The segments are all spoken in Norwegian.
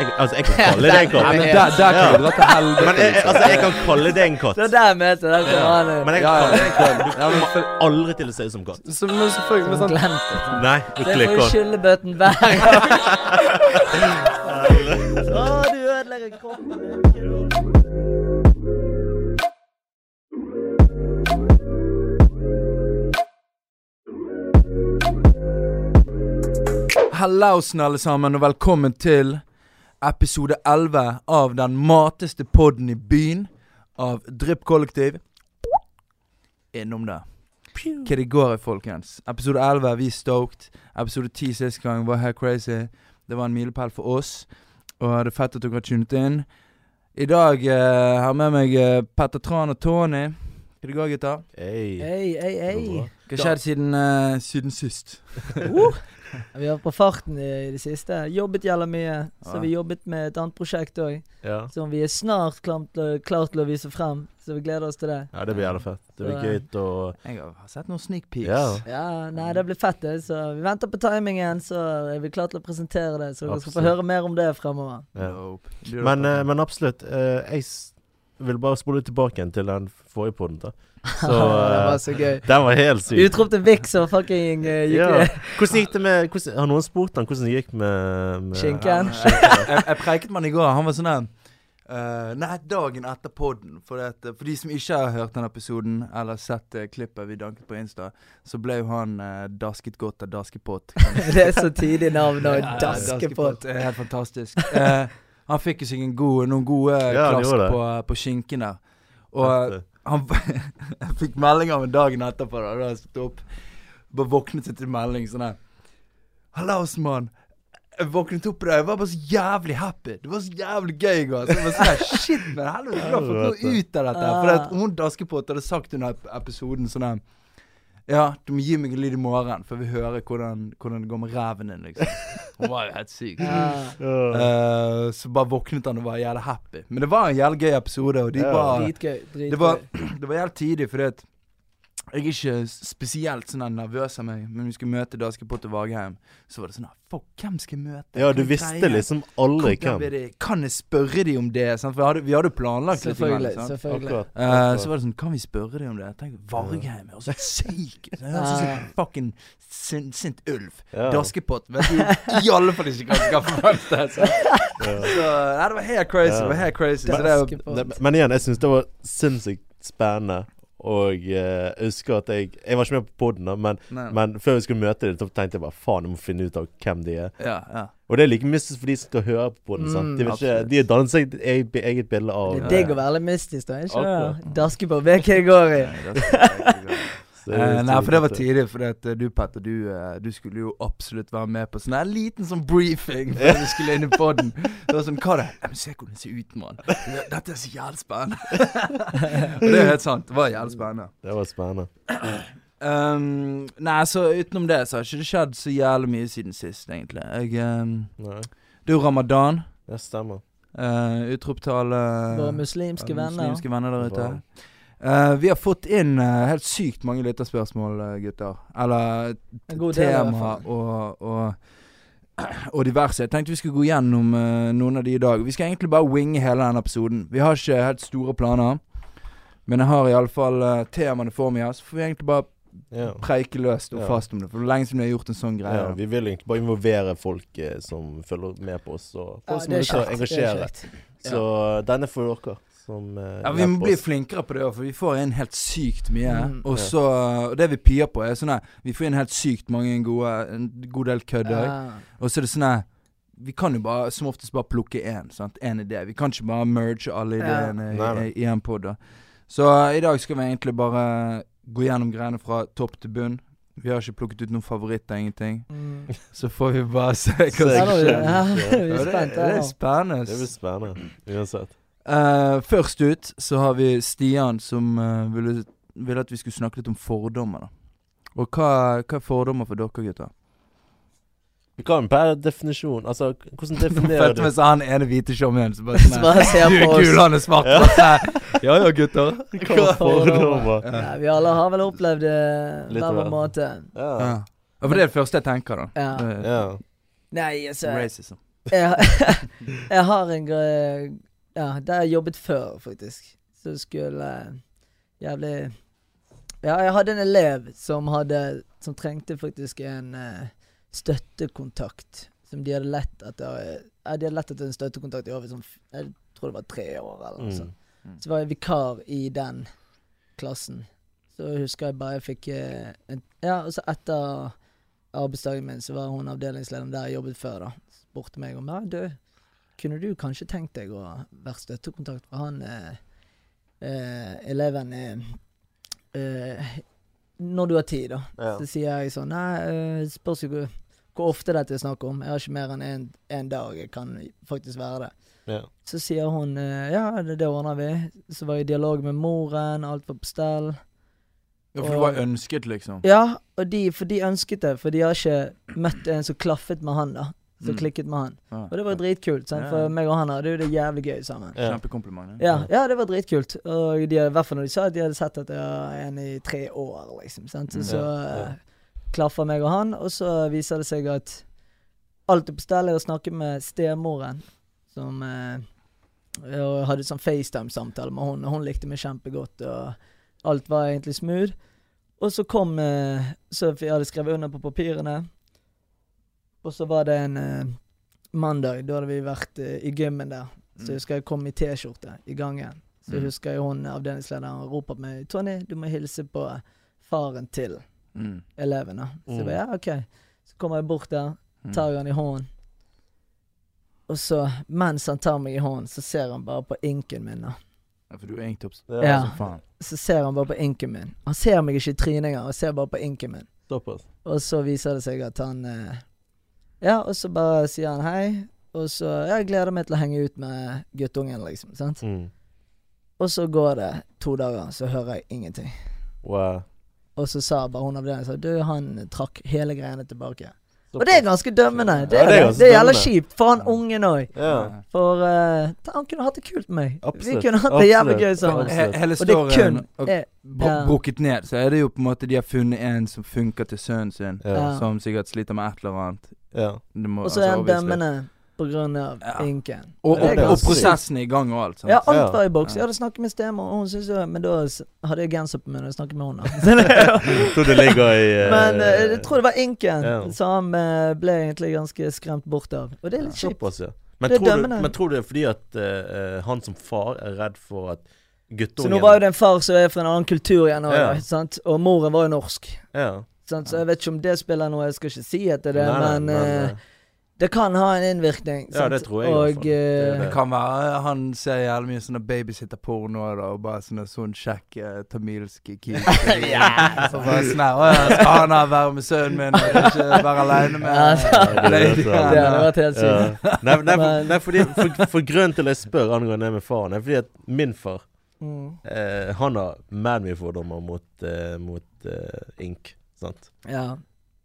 Jeg, altså, jeg kan kalle det en Ja, katt. men der, der Ja. kunne du vært til helvete. Men jeg, jeg- altså, jeg kan kalle det en katt. Det er der jeg mente Ja. det. Men jeg kan Ja, ja, kalle det en katt. ja, men for, Aldri til å se ut som katt. så, men selvfølgelig men sånn, Glemt det. Nei, du Det får klikker. du skyllebøten hver gang. Å, du ødelegger kroppen min. Hallausen, alle sammen, og velkommen til episode 11 av den mateste podden i byen av Drypp Kollektiv. Innom det. Hva det går i, folkens. Episode 11, vi er stoked. Episode 10 sist gang var helt crazy. Det var en milepæl for oss, og det er fett at dere har tunet inn. I dag eh, har jeg med meg eh, Petter Tran og Tony. Hva det går, gutter? Hey. Hei, hei, hei. Hva skjedde siden, eh, siden sist? Vi har vært på farten i i det siste. Jobbet jævla mye. Så Ja. vi jobbet med et annet prosjekt òg, Ja. som vi er snart klam- til å- klar til å vise frem. Så vi gleder oss til det. ja, det blir jævla fett. Det blir Så- gøy å Jeg har sett noen sneak peeks. Ja. Ja, nei, det blir fett, det. Så vi venter på timingen, så er vi klare til å presentere det. Så dere skal få Absolutt. høre mer om det fremover. ja. Dope. Men, eh, men absolutt. eh, jeg s vil bare spole tilbake igjen til den forrige poden. da. Så det var eh, så gøy. Den var helt syk. Utrop til Vix og fucking eh, gikk Ja. Hvordan gikk det med hvordan, Har noen spurt han hvordan det gikk med, med Skinken. jeg, jeg preiket med han i går. Han var sånn her eh, Nei, dagen etter podden. For, det, at- for de som ikke har hørt den episoden, eller sett eh, klippet vi danket på Insta, så ble jo han eh, dasket godt av Daskepott. Det er så tidlig navn og Ja, daskepott. er Helt fantastisk. Eh, han fikk jo seg en god, noen gode eh, Ja, han klask gjorde det. på, på skinken der. Og Fett, eh. han jeg fikk melding av en dagen etterpå. Da, da jeg stod opp Bare våknet jeg til melding sånn her. Hallaus, mann. Jeg våknet opp i dag, jeg var bare så jævlig happy. Det var så jævlig gøy i går. Så jeg bare sånn her, Shit, men helvete, jeg har fått noe ut av dette. her. For at hun Daskepott hadde sagt under ep- episoden sånn her Ja, du må gi meg en lyd i morgen, for jeg vil høre hvordan, hvordan det går med ræven din, liksom. Hun var jo helt syk. Ja. Ja. Eh, så bare våknet han og var jævlig happy. Men det var en jævlig gøy episode, og de Ja. var Dritgøy. dritgøy. det var, det var helt tidlig, fordi at jeg er ikke spesielt sånn der nervøs av meg, men vi skulle møte Daskepott og Vagheim. Så var det sånn her, Fuck, hvem skal jeg møte? ja, Hva du er visste greia? liksom aldri Hvordan hvem. blir det? Kan jeg spørre de om det? Sant? For vi hadde, vi hadde jo planlagt litt. Selvfølgelig. Grann, sant? selvfølgelig. Akkurat. Eh, så var det sånn Kan vi spørre de om det? Tenk, Vargheim er også syk. Han høres ut som en fucking sin- sint ulv. Ja. Daskepott vet du i alle fall ikke hva han skal forvente. Så, så nei, det var helt crazy. Det var helt crazy. Så det er jo Daskepott. Ne- Men igjen, jeg syns det var sinnssykt spennende. Og eh, jeg husker at jeg Jeg var ikke med på poden, men, Nei. men før vi skulle møte dem, så tenkte jeg bare faen, jeg må finne ut av hvem de er. Ja, ja. Og det er like mystisk for de som skal høre på den. sant? De, vet ikke, absolutt. de har dannet seg et eget, eget bilde av Mm, Det er digg å være litt mystisk, da. Ikke Akkurat. det? Daskepott, vet hva jeg går i. Så det er Eh, nei, for det var utrolig. tidlig, for at, eh, du Petter, du, eh, du skulle jo absolutt være med på sånn en liten sånn briefing før vi skulle inn i poden. Det var sånn, hva er det? Ja, men se hvordan det ser ut, mann. Dette er så jævlig spennende. Og det er helt sant. Det var jævlig spennende. Det var spennende. Um, nei, så utenom det så har ikke det skjedd så jævlig mye siden sist, egentlig. Jeg, um, Nei, det er jo ramadan. det stemmer. Uh, utrop til alle Våre muslimske alle venner. muslimske venner der ute. Wow. Eh, vi har fått inn eh, helt sykt mange lytterspørsmål, eh, gutter. Eller En god del, i hvert tema fall. og, og, og diverse. Jeg tenkte vi skulle gå gjennom eh, noen av de i dag. Vi skal egentlig bare winge hele den episoden. Vi har ikke helt store planer, men jeg har iallfall uh, temaene for meg. her, Så får vi egentlig bare Ja. preike løst og Ja. fast om det. For det er lenge siden vi har gjort en sånn greie. ja, vi vil egentlig bare involvere folk eh, som følger med på oss, og folk Ja, som vil engasjere. kjekt. Så denne får dere som eh, Ja, Vi hjelper må bli oss. flinkere på det, også, for vi får inn helt sykt mye. Mm. og så, og det vi pier på, er sånn her Vi får inn helt sykt mange gode En god del kødd òg. Ja. Og så er det sånn her Vi kan jo bare som oftest bare plukke én. sant? Én idé. Vi kan ikke bare merge alle Ja. ideene i- Nei, nei. i én pod. Så eh, i dag skal vi egentlig bare gå gjennom greiene fra topp til bunn. Vi har ikke plukket ut noen favoritter, ingenting. Mm. Så får vi bare se hva Se som hva skjer. skjer. Ja, nå er vi- ja, vi Ja, er det, spent det her er nå. spennende. Det blir spennende uansett. Eh, først ut så har vi Stian som eh, ville, ville at vi skulle snakke litt om fordommer. da. Og hva, hva er fordommer for dere, gutter? Vi kan per definisjon Altså, k- hvordan definerer Fett du med så han ene hvite showmannen som bare sånn Så her, bare ser Du er på kul, oss. han er svart. Ja. ja ja, gutter. Hva fordommer? Ja, vi alle har vel opplevd det Litt hver av vår hvert. måte. Ja. Ja. ja, for det er det første jeg tenker, da. Ja. Det er ja. Nei, altså Racism. jeg, har- jeg har en gre- Ja, der jeg jobbet før, faktisk. Så skulle eh, jævlig Ja, jeg hadde en elev som hadde Som trengte faktisk en eh, støttekontakt. Som de hadde lett etter ja, De hadde lett etter en støttekontakt i over sånn f- Jeg tror det var tre år, eller noe sånt. Mm. Så var jeg vikar i den klassen. Så husker jeg bare jeg fikk eh, en, Ja, og så etter arbeidsdagen min, så var hun avdelingslederen der jeg jobbet før, da. Spurte meg om ja, du, kunne du kanskje tenkt deg å være støttekontakt for han eh, eh, eleven eh, eh, når du har tid, da. Ja. Så sier jeg sånn Nei, eh, spørs jo hvor- hvor ofte dette er snakk om. Jeg har ikke mer enn én en, en dag jeg kan faktisk være det. Ja. Så sier hun eh, ja, det, det ordner vi. Så var jeg i dialog med moren, alt var på stell. Ja, for du var ønsket, liksom. Ja, og de, for de ønsket det, for de har ikke møtt en som klaffet med han, da. Som Mm. klikket med han. Ja. Og det var dritkult, sant? Ja. for meg og han hadde jo det jævlig gøy sammen. Ja. Kjempekompliment. Mm, ja. Ja, ja, det var dritkult. Og de, i hvert fall når de sa at de hadde sett at jeg var en i tre år, liksom. Sant? Så, Mm. så Ja, ja. eh, klaffer meg og han, og så viser det seg at alt er på stell. Jeg snakker med stemoren, som eh, Og jeg hadde sånn FaceTime-samtale med henne, og hun likte meg kjempegodt, og alt var egentlig smooth. Og så kom eh, Så jeg hadde skrevet under på papirene, og så var det en eh, mandag, da hadde vi vært eh, i gymmen der. Så Mm. jeg husker jeg kom i T-skjorte i gangen. Så Mm. husker jeg hun avdelingslederen roper på meg 'Tony, du må hilse på faren til Mm. eleven', da. Så Mm. jeg bare 'ja, ok'. Så kommer jeg bort der, Mm. tar han i hånden. Og så, mens han tar meg i hånden, så ser han bare på inken min, da. Ja, for du er egentlig oppsatt Det er Ja. altså som faen. Så ser han bare på inken min. Han ser meg ikke i trynet engang, han ser bare på inken min. såpass. Og så viser det seg at han eh, Ja, og så bare sier han hei. Og så ja, Jeg gleder meg til å henge ut med guttungen, liksom. sant? Mm. Og så går det to dager, så hører jeg ingenting. Wow. Og så sa bare hun avdelingen sånn Du, han trakk hele greiene tilbake. Såpass. Og det er ganske dømmende. Ja, det Det, er er det. ganske det gjelder dømmende. kjipt for han ungen òg. Ja. For eh, han kunne hatt det kult med meg. Absolutt. Vi kunne hatt det jævlig Absolutt. gøy sammen. Absolutt. He- Hele Og det er kun storyen og eh, bru- ja. brukket ned, så er det jo på en måte de har funnet en som funker til sønnen sin, Ja. Ja. som sikkert sliter med et eller annet. ja. Det må- Og så er altså, han obviously. dømmende på grunn av Ja. inken. Og, Det er og, og ganske prosessen er i gang og alt. Sant? Ja, Ja. alt var i boks. Ja. Jeg hadde snakket med stemor, og hun syntes jo Men da s- hadde jeg genser på meg når jeg snakket med henne. Tror du ligger i eh, Men eh, jeg tror det var inken Ja. som eh, ble egentlig ganske skremt bort av. Og det er litt kjipt. Såpass, ja. Men, Det er tror du, dømmende. men tror du det er fordi at eh, eh, han som far er redd for at Så guttungen nå var jo det en far som er fra en annen kultur igjen, også, Ja. da, sant? og moren var jo norsk. ja. Sant? Så jeg vet ikke om det spiller noe, jeg skal ikke si at det er det, Nei, nei, men, men, eh, det kan ha en innvirkning. Ja, det tror jeg i hvert Og fall. Det er eh, Det kan være han ser jævlig mye sånne babysitter-porno da, og bare sånne sånn kjekk eh, tamilsk kid. Ja. Så bare sånn her, «Å ja, Skal han her være med sønnen min og ikke være aleine med eh, Ja, det- lady?» det- det eh, hadde vært helt ja. sykt. Nei, nei, for, Men- nei fordi, for, for grunnen til at jeg spør angående det med faren, er fordi at min far Mm. eh, Han har mad mye fordommer mot, eh, mot eh, ink. Sant? Ja.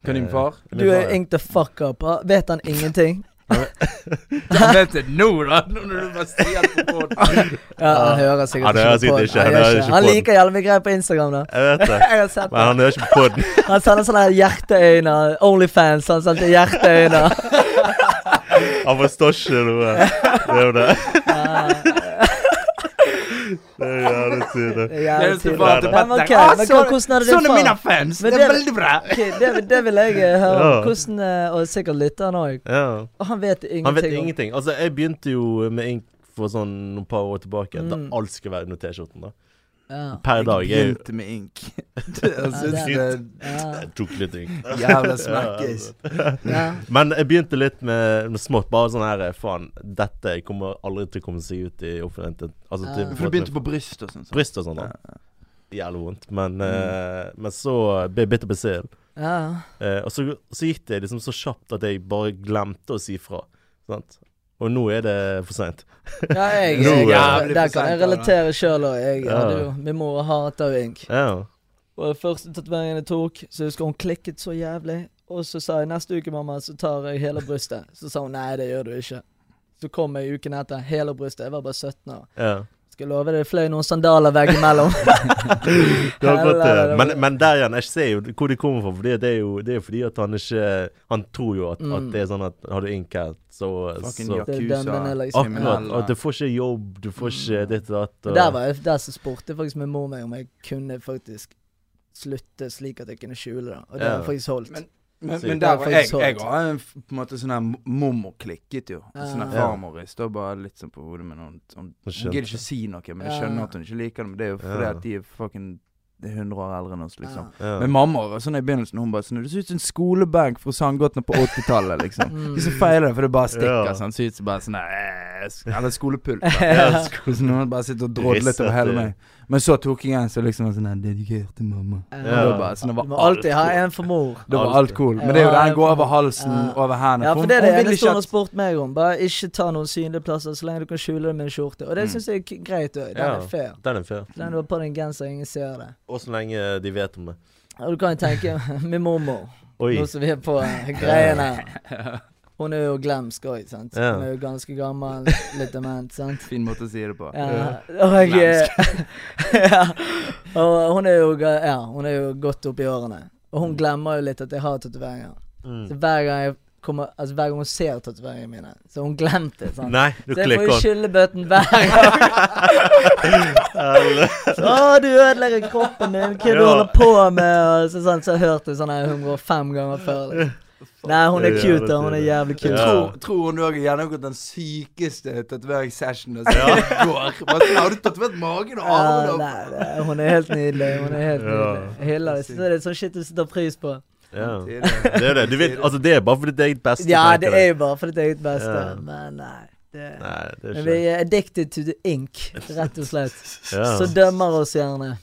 Kan din far? Eh, min Du far, er ja. ink the fuck up. Ah, Vet han ingenting? Han vet det nå, da! Nå når du bare sier det på båten. Ja, Ja. han hører sikkert Ja, det hører ikke på sikkert den. ikke, Han det gjør hører ikke. ikke Han på den. liker jævlig mye greier på Instagram, da. Jeg vet det. Jeg har sett Men det. han hører ikke på den. Han sender sånne her hjerteøyne. Onlyfans, han sendte hjerteøyne. Han forstår ikke noe. Det er jo det. Ah, Det er jævlig sykt. Det er Det er jævlig jo så tidlig. bra at du Nei, bare men ok, tenker, «Ah, men sånn- hvordan er det din Sånn er far?» mine fans! Men Det er det- veldig bra! Ok, det, vil- det vil jeg eh, høre om. Ja. Hvordan, eh, og sikkert lytteren òg. Ja. Han vet ingenting. Han vet om- ingenting. Altså, jeg begynte jo med ink for sånn noen par år tilbake. Da Mm. alt skal være under T-skjorten. da Ja. Per dag. Jeg Jeg, begynte med ink. Jeg syns det- det er Ja. jeg tok litt ink. jævla smekkis. Ja. Men jeg begynte litt med, med smått. Bare sånn her Faen, dette kommer aldri til å komme seg ut i offentligheten. Altså, til- Ja. For du begynte på bryst og sånn? sant? bryst og sånn. da Jævlig vondt. Men, Mm. eh, men så ble jeg bitt på selen. ja. Eh, og så, så gikk det liksom så kjapt at jeg bare glemte å si fra. Sant? Og nå er det for seint. ja jeg, Nå, jeg, ja. eh, der kan jeg relatere sjøl òg. Jeg Ja. hadde jo Min mor hater jo ink. Ja. Og første tatoveringen jeg tok, så husker hun klikket så jævlig. Og så sa jeg neste uke, mamma, så tar jeg hele brystet. Så sa hun nei, det gjør du ikke. Så kom jeg uken etter, hele brystet. Jeg var bare 17 år. Ja. Så Skal love det, det fløy noen sandaler veggimellom. Det har gått, Heller, eh, det men, var- men der igjen, jeg ser jo hvor de kommer fra. For det er jo, det er jo fordi at han ikke Han tror jo at, at Mm. det er sånn at har du innkatt, så, Fucking så Det er den den er liksom- Akkurat. kriminelle. At du får ikke jobb, du får ikke ditt og datt. og- Mm. Der var jeg, der så spurte jeg faktisk min mor meg om jeg kunne faktisk slutte slik at jeg kunne skjule det. Og det har Ja. jeg faktisk holdt. Men- Men, Så- men Det Ah. er der var jeg, faktisk jeg sant. har en f- på en måte sånn her mormor klikket jo. Ja. Sånn her Ja. farmor jeg står bare litt sånn på hodet med noen sånn, Hun Hun skjønte. gidder ikke si noe, men jeg Ja. skjønner at hun ikke liker det. Men det er jo fordi Ja. Ah. at de er fucking de er 100 år eldre enn oss, liksom. Ja. Men mamma var sånn i begynnelsen, hun bare sånn Det ser ut som en skolebenk fra Sandgåtene på 80-tallet, liksom. Mm. De som feiler det, for det bare stikker Ja. sånn. Ser ut som bare sånn eh, sk- Eller skolepulver. Ja. Så noen bare sitter og drodler litt Ristet, over hele ja. meg. Men så tok jeg en som liksom var sånn her dedikert til mamma. Ja. Og det var bare sånn, det Du må var alt alltid ha en for mor. det var Alt. alkohol. Men det er jo Ja, den går over halsen, ja. over hendene. Ja, for det er hun det vil eneste ikke hun har at spurt meg om. Bare ikke ta noen synlige plasser så lenge du kan skjule det med en skjorte. Og det Mm. synes syns jeg er k- greit òg. Den Ja. er fair. Den er fair. Den du har på deg en genser, ingen ser det. Og så lenge de vet om det. Og du kan jo tenke min mormor, Oi. nå som vi er på eh, greiene. Hun er jo glemsk òg, sant. Ja. Hun er jo ganske gammel, litt dement, sant. Fin måte å si det på. Ja, og jeg ja. Og hun er jo ga- Ja, hun er jo godt opp i årene. Og hun glemmer jo litt at jeg har tatoveringer. Mm. Så hver gang jeg kommer Altså hver gang hun ser tatoveringene mine, så har hun glemt det. sant? Nei, du Så jeg får klikker altså. jo den. skyllebøten hver gang. Å, du ødelegger kroppen din, hva du Ja. holder på med? Og så, sånn, så jeg hørte sånn her 105 ganger før. Liksom. Nei, hun er Det er cute, da. jævlig Hun er tidlig. jævlig cute. Ja. Tror, tror hun òg har gjennomgått den sykeste tatoveringssessionen som går. Bare sånn, Har du tatovert magen og Ja, armen? nei, det- hun er helt nydelig. Hun er helt Ja. nydelig. Jeg Hyller det. Så det er sånn shit du setter pris på. Ja. og- Det er jo det. Du vet, altså, det er bare for ditt eget beste. Ja, tenker det er jeg. jo bare for ditt eget beste, Ja. men nei. Det. Nei, det Men er vi ikke er addicted to the ink, rett og slett. ja. Så dømmer oss gjerne.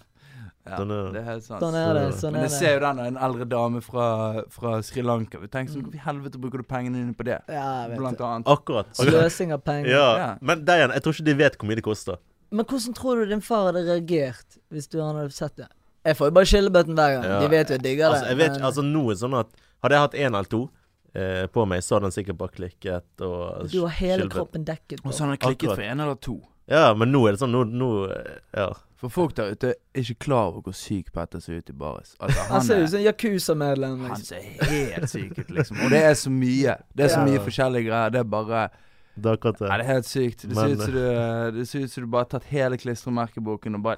Ja, Sånn er- det er helt sant. Sånn er det. sånn Men er jeg ser det. jo den av en eldre dame fra, fra Sri Lanka. Vi tenker sånn Hvorfor i helvete bruker du pengene dine på det? Ja, Mm. jeg vet Blant du. annet. Akkurat. Akkurat. Sløsing av penger. Ja. Ja. Men der igjen, jeg tror ikke de vet hvor mye det koster. Men hvordan tror du din far hadde reagert hvis du han hadde sett det? Jeg får jo bare skyllebøtten hver gang. Ja. De vet jo jeg digger det. Altså, jeg vet ikke, men- altså noe sånn at Hadde jeg hatt én eller to eh, på meg, så hadde han sikkert bare klikket og Du har hele skilvet. kroppen dekket. Og Bro. så har han klikket Akkurat. for en eller to. Ja, men nå er det sånn, nå, nå eh, Ja. For folk der ute er ikke klar over hvor syk Petter ser ut i baris. Altså, Han ser er- ut som en Yakuza-medlem. Han Liksom. ser helt syk ut, liksom. Og det er så mye. Det er Ja. så mye forskjellige greier. Det er bare Det er akkurat Nei, det. det er helt sykt. Det ser Men- ut som du, det ser ut som du bare har tatt hele klistremerkeboken og bare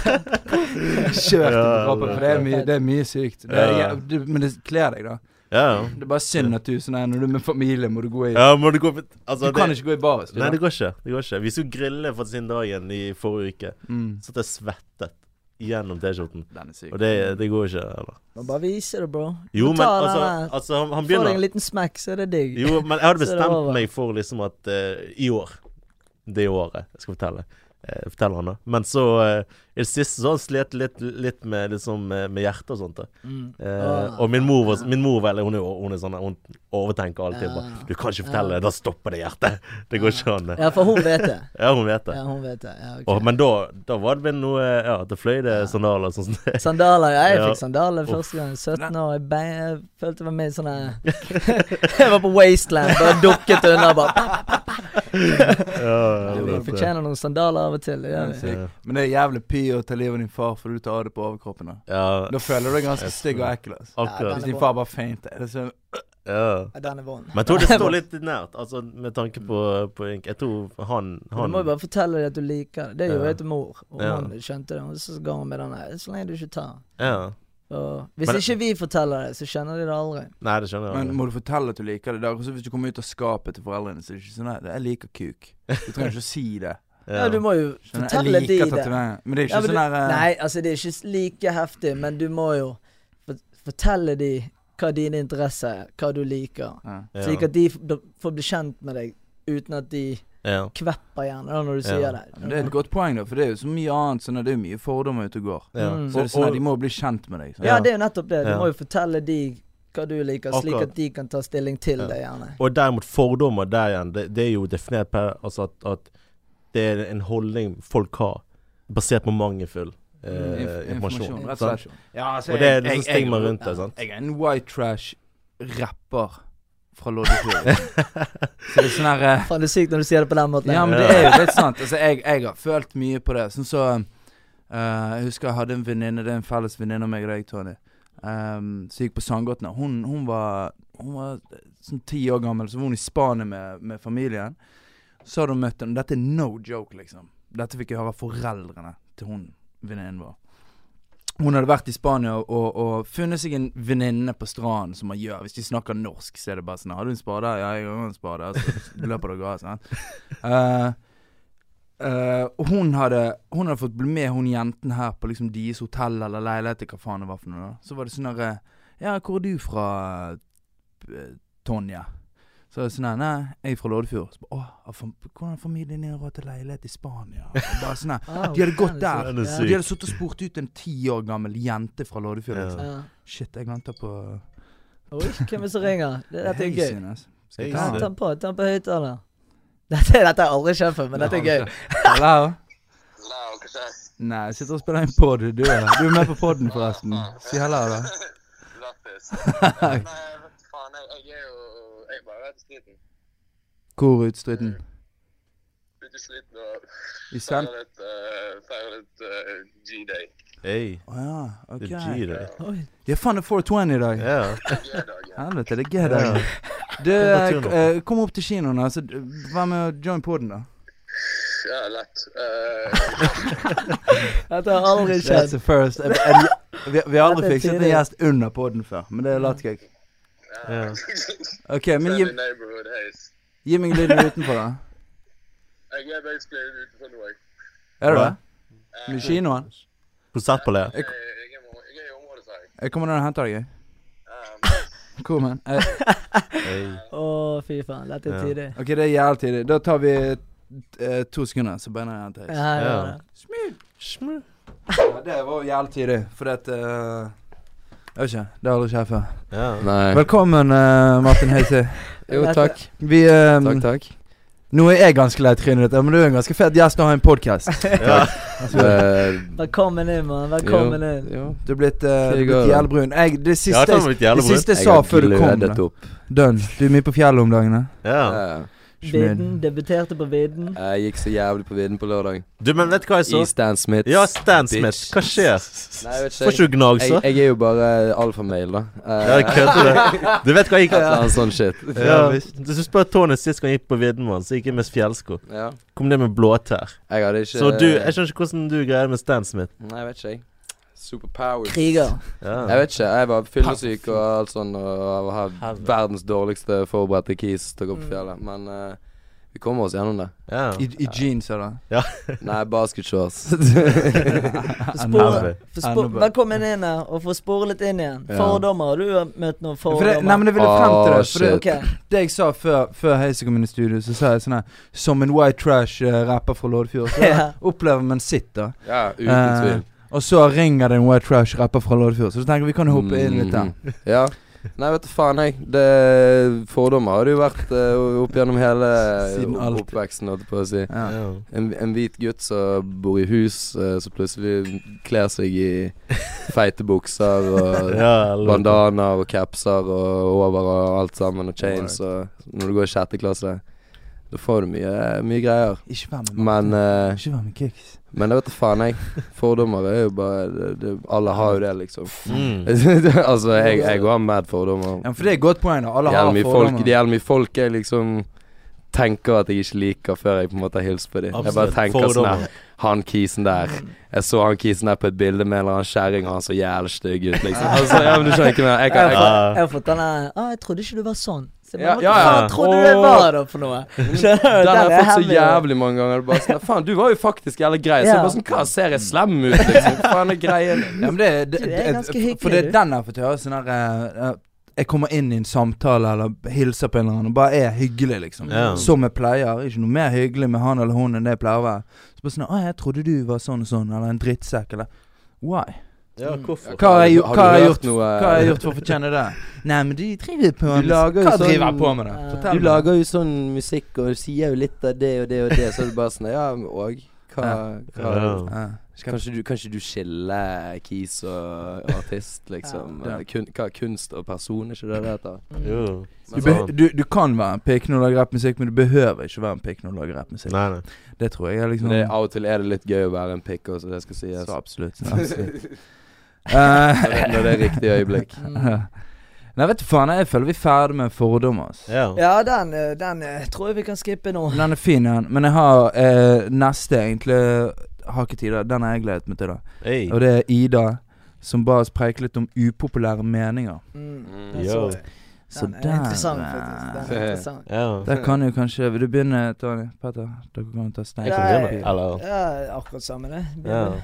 kjørt det på Ja, kroppen. det- For det er mye, det er mye sykt. Det er, Ja. du, men det kler deg, da. Ja, Det er bare synd at du sånn her når du er med familie, må du gå i ja. ja må du gå på Du altså, kan det- ikke gå i baris. du, Nei, da. det går ikke. det går ikke Vi skulle grille for sin dagen i forrige uke. Mm. Så at jeg svettet gjennom T-skjorten. Den er syk. Og det, det går ikke. Eller? Må bare vise det, bro. Jo, men Må ta den altså, her. altså han, han Får deg en begynner liten smekk, så er det digg. Jo, men jeg hadde Så er det bestemt over. meg for liksom at eh, i år Det året jeg skal fortelle. Eh, fortelle han da. Men så eh, i det siste så har han slet litt, litt med, liksom, eh, med hjertet og sånt. Da. Mm. Eh, Åh. og min mor, var, min mor vel, hun, er, jo- hun er sånn Hun overtenker alltid. Ja. Bare, 'Du kan ikke fortelle det, da stopper det hjertet'. Det går ikke an. det. Ja, for hun vet det. Ja, hun vet det. Ja, hun vet det. Ja, ok. Og, men da, da var det vel noe Ja, det fløy det sandaler og sånt. Sandaler. Ja, jeg Ja. fikk sandaler første gang. 17 år. Jeg, bein, jeg følte jeg var med i sånne Jeg var på Wasteland, bare dukket unna. bare ja, det Vi var fortjener noen sandaler av og til. Det gjør Den er vi. syk. Men det er jævlig py å ta livet av din far fordi du tar av deg på overkroppen. Da Ja, Da føler du deg ganske stygg og ekkel. Altså. Ja, akkurat. Hvis din far bare feinter. Det er sånn- så Ja. Ja, Den er vond. Men jeg tror det står litt nært, altså med tanke på, på Ink. Jeg tror han, Du han må jo bare fortelle dem at du liker det. Det gjorde Ja. jeg til mor, og Ja. hun skjønte det. Og så ga hun meg den der. Så lenge du ikke tar. ja. Og hvis Men- ikke vi forteller det, så skjønner de det aldri. Nei, det skjønner jeg. Men må du fortelle at du liker det? der Også hvis du kommer ut av skapet til foreldrene, så er det ikke sånn at 'jeg liker kuk'. Du trenger ikke å si det. aldri. Ja, du må jo Skjønner du? fortelle jeg de liker det. tatoveringer. Men det er ikke Ja, men sånn du- her eh, Nei, altså det er ikke like heftig, men du må jo fort- fortelle de hva dine interesser er, hva du liker. ja. Ja. Slik at de f- da får bli kjent med deg uten at de Ja. kvepper gjerne da, når du Ja. sier Ja, Men det er et godt poeng, da, for det er jo så mye annet. Sånn at det er jo mye fordommer ute og går. Ja. Mm. Så er det sånn at de må bli kjent med deg. sant? Ja, det er jo nettopp det. Du Ja. må jo fortelle de hva du liker, slik Akkurat. at de kan ta stilling til Ja. det, gjerne. Og derimot fordommer der igjen, det, det er jo definert per altså at, at det er en holdning folk har, basert på mangelfull eh, Mm, inf- informasjon. informasjon, rett og sant? slett. Ja, altså, Og det jeg- er liksom jeg- jeg- stigma rundt det, sant. Jeg er en white trash-rapper. fra Loddefjord. Så det er sånn her eh, Faen, det er sykt når du sier det på den måten. Ja, men det er jo litt sant. Altså, jeg, jeg har følt mye på det. Sånn så eh, Jeg husker jeg hadde en venninne, det er en felles venninne av meg og deg, Tony, ehm, som gikk på Sandgåtene. Hun, hun var Hun var sånn ti år gammel, så var hun i Spania med, med familien. Så hadde hun møtt henne. Dette er no joke, liksom. Dette fikk jeg høre av foreldrene til hun venninnen vår. Hun hadde vært i Spania og, og, og funnet seg en venninne på stranden, som man gjør hvis de snakker norsk. Så er det bare sånn 'Har du en spade?' 'Ja, jeg har en spade.' Så løper dere av. sant? Eh, eh, og hun hadde, hun hadde fått bli med hun jenten her på liksom deres hotell eller leilighet, hva faen det var for noe. da Så var det sånn der eh, Ja, hvor er du fra, eh, Tonje? Så er det sånn her Nei, jeg er fra Loddefjord. Så bare, Åh, har fam- hvordan har familien din råd til leilighet i Spania? Og Bare sånn her. Wow, De hadde gått det er der. sykt. Den er Ja. syk. De hadde sittet og spurt ut en ti år gammel jente fra Loddefjord. Ja. Liksom. Ja. Shit, jeg venter på Oi, hvem er det som ringer? Det- Dette er gøy. Heisen, ass. Skal Hei, jeg Ja, Heisen. ta ta den? den på, ta den på høyttaler. Dette, dette har jeg aldri kjent før, men dette er gøy. Hallo? Nei, hva sa jeg? Nei, jeg sitter og spiller inn pod. Du er, du er med på poden, forresten. Ah, Si hallo, da. Lattis. Nei, vet du eh, faen, jeg, jeg er jo Jeg er bare rett sliten. Hvor utstriden? Litt sliten og I Sand? feirer litt, eh, feirer litt eh, G-day. Hey, Å ja, det ok. er G, det. Oi. Ja, faen, det er 420 i dag. Ja. G-dagen. Helvete, det er gøy i Ja. dag. Du, Gå på tur eh, nå. k- eh, kom opp til kinoen, altså. d- Vær med og join poden, da. Ja, lett. Eh, Dette har jeg aldri That's kjent. the first. Eh, eh, Vi, vi har aldri Dette er fikset en tidlig. gjest under poden før, men det later jeg. ja. OK, men gi, Friendly neighborhood haze. gi meg lyden utenfor, da. Jeg er basically utenfor nå, jeg. Er du det? Eh, Med kinoen? Konsertpolé. Jeg jeg er i- jeg er i området, sa jeg. Jeg kommer ned og henter deg. jeg. Eh, Cool, man. Eh, Hey. Å, fy faen. Dette er Ja. tidlig. OK, det er jævlig tidlig. Da tar vi eh, to sekunder, så begynner jeg å hente deg. Ja, ja. Ja. ja. Shmu. Ja, Det var jævlig tidlig, fordi at eh, Jeg vet ikke. Det har aldri skjedd før. Ja. Nei. Velkommen, eh, Martin Heise. Jo, Dette- takk. Vi eh, Takk, takk. Nå er jeg ganske lei trynet ditt, men du er en ganske fet gjest og har en podkast. ja. Det- Velkommen inn, mann. Velkommen jo, inn. Eh, jo. Du er blitt, uh, Jeg går. blitt jævlig brun. Jeg, det Ja, siste det jeg, var litt jævlig det brutt. siste jeg sa før du kom, gledet da. opp. Dønn. Du er mye på fjellet om dagene. Ja. Ja. Vidden. Debuterte på Vidden. Eh, Jeg gikk så jævlig på vidden på lørdag. Du, men vet du hva jeg så? I Stan Smith. Ja, Stan Bitch. Smith. Hva skjer? Nei, jeg vet Får ikke. ikke du gnag, Jeg, så? jeg er jo bare alfamale, da. Eh, Ja, jeg kødder det. Du vet hva jeg gikk et eller annet sånn shit. ja. Hvis du spør Tony sist gang han gikk på vidden, mann, så gikk jeg med fjellsko. Ja. Kom ned med blåtær. Jeg hadde ikke Så du Jeg skjønner ikke hvordan du greier det med Stan Smith. Nei, jeg vet ikke, jeg. Superpowers. Kriger. Jeg Ja. vet ikke. Jeg var fyllesyk og alt sånn, og har verdens dårligste forberedte kis til å gå på fjellet. Mm. Men eh, vi kommer oss gjennom det. ja. I, i jeans, eller? Nei, basketshorts. For Nerver. spore- for spor- Nerver. Velkommen inn her, og få spore litt inn igjen. Ja. Fordommer. Har du møtt noen For det, nei, fordommer? men jeg ville frem til det. Åh, For det, Ok. det jeg sa før, før Heise kom inn i studio, så sa jeg sånn her Som en white trash-rapper fra Loddefjord. Så Ja. opplever man sitt, da. ja, uten Eh, tvil. Og så ringer det en white trash-rapper fra Loddefjord. Så tenker jeg vi kan jo hoppe inn litt der. Mhm. Ja. Nei, vet du faen, jeg. Det, fordommer har det jo vært eh, opp gjennom hele Siden opp- alltid. oppveksten, holdt jeg på å si. Ja. Ja. En, en hvit gutt som bor i hus, eh, som plutselig kler seg i feite bukser og Ja, eller- bandanaer og capser og over og alt sammen, og chains og Når du går i sjette klasse, da får du mye, mye greier. Ikke vær med Martin. Men, eh, Ikke vær med Kicks. men det vet du faen, jeg. Fordommer er jo bare det, det, Alle har jo det, liksom. Mm. altså, jeg, jeg har mad fordommer. Ja, for det er et godt poeng. da. Alle Det har gjelder mye folk, fordommer. det gjelder mye folk jeg liksom tenker at jeg ikke liker før jeg på en måte har hilst på dem. Jeg bare Absolutt. tenker sånn her Fordommer. Han kisen der. Mm. Jeg så han kisen der på et bilde med en eller annen kjerring, og han så jævlig stygg ut, liksom. Altså, ja, men du skjønner ikke mer. Jeg kan, Jeg jeg, har fått- jeg har fått den der ah, 'Jeg trodde ikke du var sånn'. Så, men, Ja, hva ja, ja. faen trodde du det Åh. var da for noe? Skjønner du? den har jeg fått så heavy, da. jævlig mange ganger. Det er Bare sånn, Faen, du var jo faktisk jævlig grei. Så Ja. jeg bare sånn Hva, ser jeg slem ut, liksom? Hva faen er greien? Ja, men det, er- det, Du er det er- ganske hyggelig, For det du. er den jeg har fått høre. Sånn her eh, eh, Jeg kommer inn i en samtale eller hilser på en eller annen og bare er hyggelig, liksom. Ja. Som jeg pleier. Ikke noe mer hyggelig med han eller hun enn det jeg pleier å være. Så bare sånn 'Å, jeg trodde du var sånn og sånn', eller en drittsekk, eller Why? Ja, hvorfor? Hva har jeg, gjort- hva Har du har jeg hørt gjort, noe- eh? hva har jeg gjort for å fortjene det? Nei, men du driver på med lager jo Hva sånn- driver jeg på med, da? Ja. Fortell Du meg. lager jo sånn musikk og sier jo litt av det og det og det, så er det bare sånn Ja, og hva, hva Ja. Ja. Kanskje du, kanskje du skiller kis og artist, liksom. Ja. Eh, kun, hva, kunst og person, er ikke det det heter? Jo. Sånn. Du, Men beh- du, du kan være en pikk når du lager rappmusikk, men du behøver ikke være en pikk når du lager rappmusikk. Nei, nei. Det tror jeg er liksom det, av og til er det litt gøy å være en pikk også, det skal sies. Så absolutt. så absolutt. Eh, Når det- Når det er riktig øyeblikk. Mm. nei, vet du faen, jeg føler vi er ferdig med fordommer. ass. Ja. Ja, den, eh, den eh, tror jeg vi kan skippe nå. Mm. Men Den er fin, den. Men jeg har eh, neste, egentlig. Har ikke tid, da. Den har jeg gledet meg til, da. Hey. Og det er Ida, som ba oss preike litt om upopulære meninger. Mm. Mm. Den Yo. så jeg. Så den er interessant, der, faktisk. Den eh, er interessant. Ja. Der kan jo kanskje Vil du begynne, Tony? Petter? Dere kan jo ta stein. Jeg kan Nei. begynne. Eller Ja, akkurat samme det. ja. Begynner.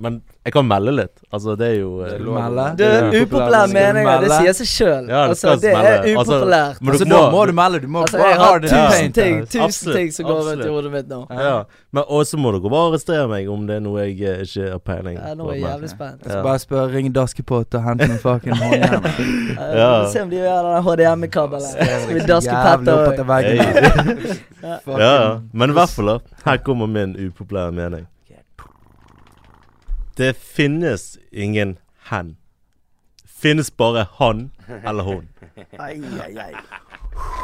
Men jeg kan melde litt. Altså, det er jo eh, Det er Vil du lov. melde? Det er Ja. upopulære Skal du meninger, det melde? sier seg sjøl. Ja, det altså, skal det er melde. Altså, upopulært. men Altså, du da må- må du melde. Du må Altså, jeg bare ha har det Ja. tusen paint. ting, Absolutt, tusen ting som går rundt i absolutt. hodet mitt nå. Ja. Men og så må dere bare arrestere meg om det er noe jeg eh, ikke har peiling Ja, nå er jeg men- jævlig spent. Jeg skal bare spørre, ring Daskepott og hente noen fucking håndjern. Eh, Ja. vi får Se om de gjør den HDMI-kabelen. Skal vi daske Jævlig opp Petter etter òg? veggen. Hey. Fucking- Ja, ja. Men i hvert fall, da. Her kommer min upopulære mening. Det finnes ingen hen. Finnes bare han eller hun.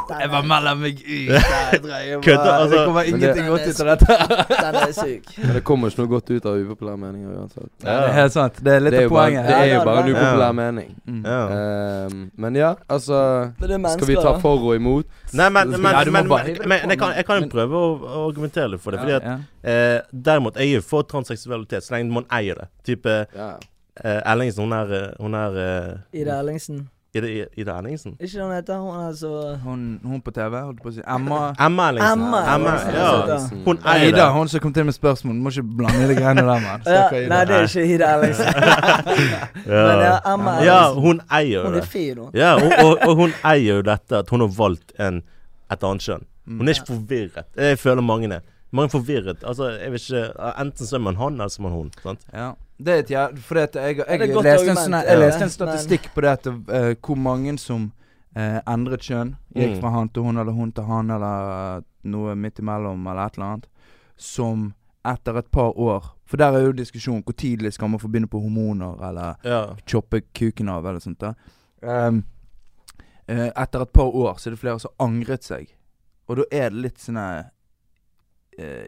Jeg bare melder meg ut. Jeg dreier bare- Kødder, altså. Det kommer Men det- ingenting godt ut av dette. Den er syk. Men det kommer ikke noe godt ut av upopulære meninger uansett. Ja, det er helt sant. Det er litt Det er av jo bare, poenget. det er jo bare en Ja. upopulær mening. Mm. Ja. Ehm, men ja, altså Men det er mennesker, Skal vi ta da. for og imot? Nei, men, men, Nei, du men, må men, bare hive det på, men jeg, kan, jeg kan jo men- prøve å å argumentere litt for det. Fordi at Ja. eh, Derimot, jeg er jo for transseksualitet så lenge man eier det. Type Ja. eh, Ellingsen, hun er eh, Hun er eh, Ida Ellingsen. Ida, Ida Ellingsen? Ikke det hun heter? Hun er så Hun, hun på TV, holdt på å si. Emma Emma Ellingsen. Emma Ellingsen, ja. altså, Hun eier Eida, det. hun som kom til med spørsmål. Du må ikke blande de greiene der, mann. ja, Stakkar Ida. Nei, det er ikke Ida Ellingsen. Men ja, Ja, Emma ja Ellingsen. hun eier jo Hun det. er fin, hun. Ja, og, og, og hun eier jo dette at hun har valgt en, et annet kjønn. Hun er ikke forvirret. Jeg føler mange er. Mange er forvirret. Altså, jeg vet ikke Enten så er man han, eller så er man hun. Sant? Ja. Det er et jæv- Fordi at jeg, jeg, det er et godt leste, en argument, sånn, her- jeg ja. leste en Men- statistikk på det at eh, hvor mange som eh, endret kjønn. Gikk Mm. fra han til hun, eller hun til han, eller eh, noe midt imellom, eller et eller annet. Som etter et par år For der er jo diskusjonen hvor tidlig skal man få begynne på hormoner, eller Ja. choppe kuken av, eller sånt. da Ehm, eh, Etter et par år så er det flere som har angret seg. Og da er det litt sånn eh,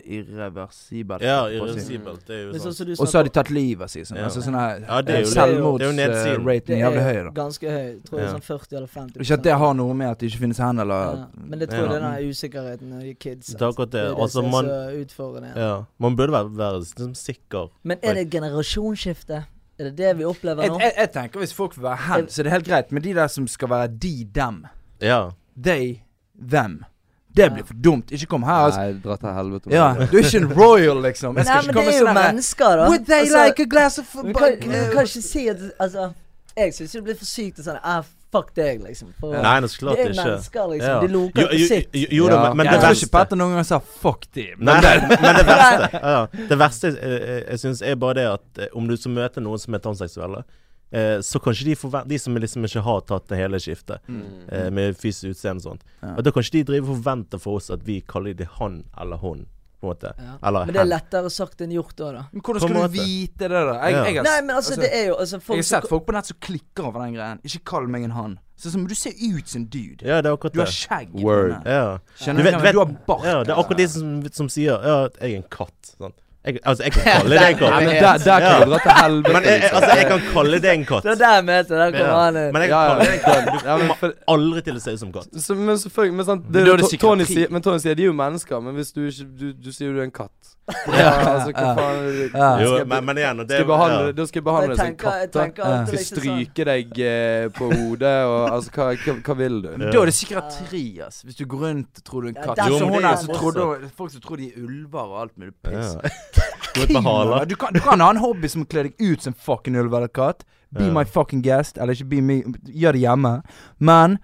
irreversibelt. ja holdt jeg på å si. irreversibelt. Det er jo Men sånn sånn. som du Og så har de snakker- tatt livet av seg. Sånn. Ja. Altså sånn Ja, her det er jo- det er jo nedsiden. Selvmordsraten er jævlig høy, da. ganske høy. Tror jeg Ja. sånn 40 eller 50 Ikke at det har noe med at det ikke finnes hender ja. eller Men det tror jeg Ja. det er den der usikkerheten i kids. Det er eh, akkurat det. Altså, som man, er så utfordrende. ja. man burde være, være liksom, sikker. Men er det et generasjonsskifte? Er det det vi opplever jeg, nå? jeg, jeg tenker hvis folk vil være hen, så er det helt greit. Men de der som skal være de, dem, Ja. they, them Det blir for dumt. Ikke kom her. Altså. Nei, dra til helvete. Ja, med det. du er ikke en royal, liksom. Nei, Jeg skal men ikke det komme er jo sånn her mennesker, da. Would they Altså, like a glass of vi kan, vi kan ikke si at Altså, jeg syns det blir for sykt å sånn ah, Fuck deg, liksom. For, Nei, det er så klart det er ikke. mennesker, liksom. Ja. De loker Jo- på jo- sitt. Jo, jo da, Ja. men, men Jeg det tror ikke verste Petter noen gang sa 'fuck de'. Men Nei, nei, men det verste ja, ja. Det verste eh, jeg syns er bare det at eh, om du så møter noen som er transseksuelle, eh, så kanskje de forventer De som liksom ikke har tatt det hele skiftet, Mm. eh, med fysisk utseende og sånt, Ja. og da kan ikke de drive og forvente for oss at vi kaller de han eller hun, på en måte. Ja. Eller Men det er hen. lettere sagt enn gjort òg, da. Men hvordan På skal en du måte. vite det, da? Jeg, Ja. jeg, har- Nei, men altså, det er jo altså, Jeg folk har som- sett folk på nett som klikker over den greien. Ikke kall meg en han. Sånn som du ser ut som en dude. Ja, det er akkurat Du har det. skjegg. i Word. panna. Ja. Skjønner du, hva jeg mener? du har bart. ja, det er akkurat de som, som sier ja, at jeg er en katt. Sånn. Jeg, altså, jeg kan kalle det en Nei, men katt. der, der kan Ja. du dra til helvete. liksom. Men jeg, jeg- altså, jeg kan kalle det en katt. Det er der jeg mente Der kommer Ja. han inn. Men jeg Ja, kan ja. kalle det en katt. Ja, men, for, Du kommer aldri til å se ut som katt. så, men selvfølgelig men, sant, det, Men da er det To- Tony, psykiatri. sier, men Tony sier de er jo mennesker, men hvis du ikke Du, du sier jo du er en katt. Ja, Ja, altså, hva ja. faen er det- Ja. Jo, Skal jeg be- men, men igjen, og det skal jeg behandle, ja. Da skal jeg Og behandle jeg sånn deg som tenker, en jeg katt. da. tenker alltid liksom Skal sånn stryke deg eh, på hodet og Altså, hva, hva, hva vil du? Da er det psykiatri, ass. Hvis du går rundt og tror du er en Ja, katt. der- Sånn Jo, som men hun det er her som jo trodde Folk som tror de er ulver og alt mulig piss. Ja. Gå ut med Kimono. haler. Du kan, du kan ha en hobby som å kle deg ut som en fucking ulv eller katt. Be Ja. my fucking guest, eller ikke be me Gjør det hjemme. Men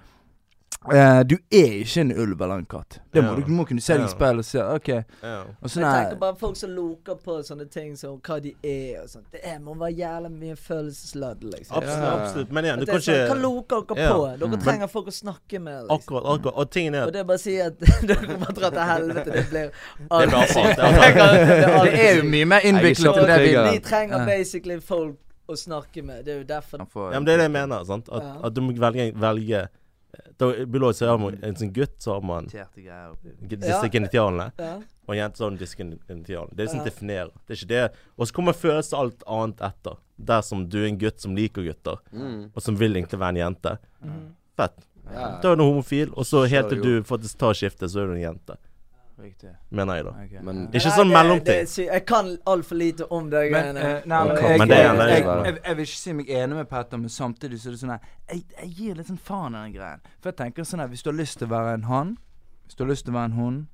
eh, du er ikke en ulv eller en katt. Det må Ja. du, du må kunne se deg i Ja. speilet og se. Ok. Ja. Og sånn så, Men Jeg tenker nei, bare folk som loker på sånne ting som hva de er og sånt. Det er, må være jævla mye følelsesladd, liksom. Absolutt, absolutt. Men igjen, At du det kan er sånn, Hva ikke loker dere Ja. Mm. på? Dere trenger folk å snakke med. Liksom. Akkurat, akkurat. Og tingen er Og at det er bare å si at dere kommer til å dra til helvete. Det blir Det blir avfalt, det er det er jo mye mer innviklet enn det vi trigger. Vi trenger basically folk å snakke med. Det er jo derfor Ja, men det er det jeg mener. sant? At, Ja. at du må velge, velge Da biologisk så har man en sånn gutt, så har man g- disse Ja. genitalene. ja. Og en jente så har man disse genitaliene. Det er sånn Ja. definerer. Det er ikke det. Og så kommer følelser og alt annet etter. Dersom du er en gutt som liker gutter, Mm. og som vil egentlig være en jente. Mhm. Fett. Ja. Eh, Da er du homofil, og så helt til det du faktisk tar skiftet, så er du en jente. Riktig. Mener jeg, da. Ok. Men Ja. Det er ikke Nei, sånn det- det er mellomting. sy- Jeg kan altfor lite om det Men, greiene. eh, nei, men Men jeg, kom, jeg, men det er- jeg, det er- jeg, jeg, vil ikke si meg enig med Petter, men samtidig så er det sånn her jeg, jeg gir litt sånn faen i den greien. For jeg tenker sånn her Hvis du har lyst til å være en han, hvis du har lyst til å være en hun,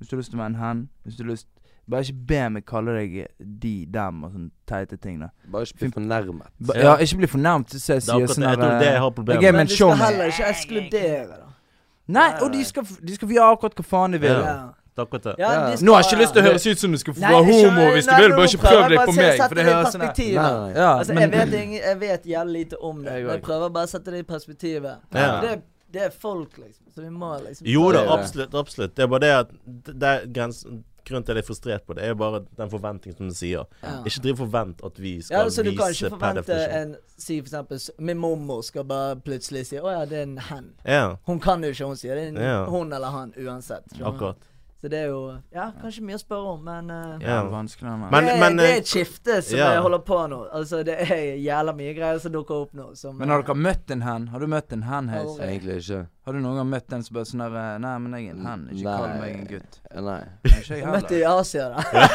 hvis du har lyst til å være en hen Hvis du har lyst Bare ikke be meg kalle deg de, dem og sånne teite ting. da Bare ikke bli fornærmet. Ba, Ja. ja, ikke bli fornærmet så jeg Det er sier akkurat sånn det, jeg tror det jeg her har problemer jeg med. er med- Men men du show skal me. heller ikke ekskludere, da. Nei, og de skal, f- de skal få gjøre akkurat hva faen de vil. Ja. Det er akkurat det. Ja, Ja. de skal- Nå har jeg ikke lyst til å høres ut som du skal Nei, være jeg skjønner- homo hvis du nei, vil, nå bare ikke prøver prøv jeg deg bare på å se- meg. sette For det det i høres sånn her- perspektiv, da. Nei, nei. Ja, Altså, jeg, men vet, ingen- jeg vet jævlig lite om det. Jeg Men jeg òg. prøver bare å sette det i perspektivet. Ja. Det, er- det er folk, liksom. Så vi må liksom Jo da, Det er det. absolutt. absolutt Det er bare det at det er grensen, Grunnen til at jeg er frustrert på det, er bare den forventningen som du sier. Ja. Ikke driv og forvent at vi skal Ja, altså, du kan vise ikke per forvente definisjon. en Si for eksempel s- Min mormor skal bare plutselig si 'Å ja, det er en hen'. Ja, Hun kan jo ikke, hun sier. Det er en Ja. hun eller han uansett. skjønner du? akkurat. Så det er jo Ja, kanskje mye å spørre om, men eh, Ja. det er vanskelig, men. Men- eh, det, er- det er et skifte som ja. jeg holder på nå. Altså, det er jævla mye greier som dukker opp nå. Som, eh, Men har dere møtt en hen? Har du møtt en hen, Heis? Aldri. Egentlig ikke. Har du noen gang møtt en som bare sånn der eh, Nei, men jeg er en hen, ikke kall Nei. meg en gutt. Eh, Nei. Ikke jeg Jeg møtte heller. i Asia, da.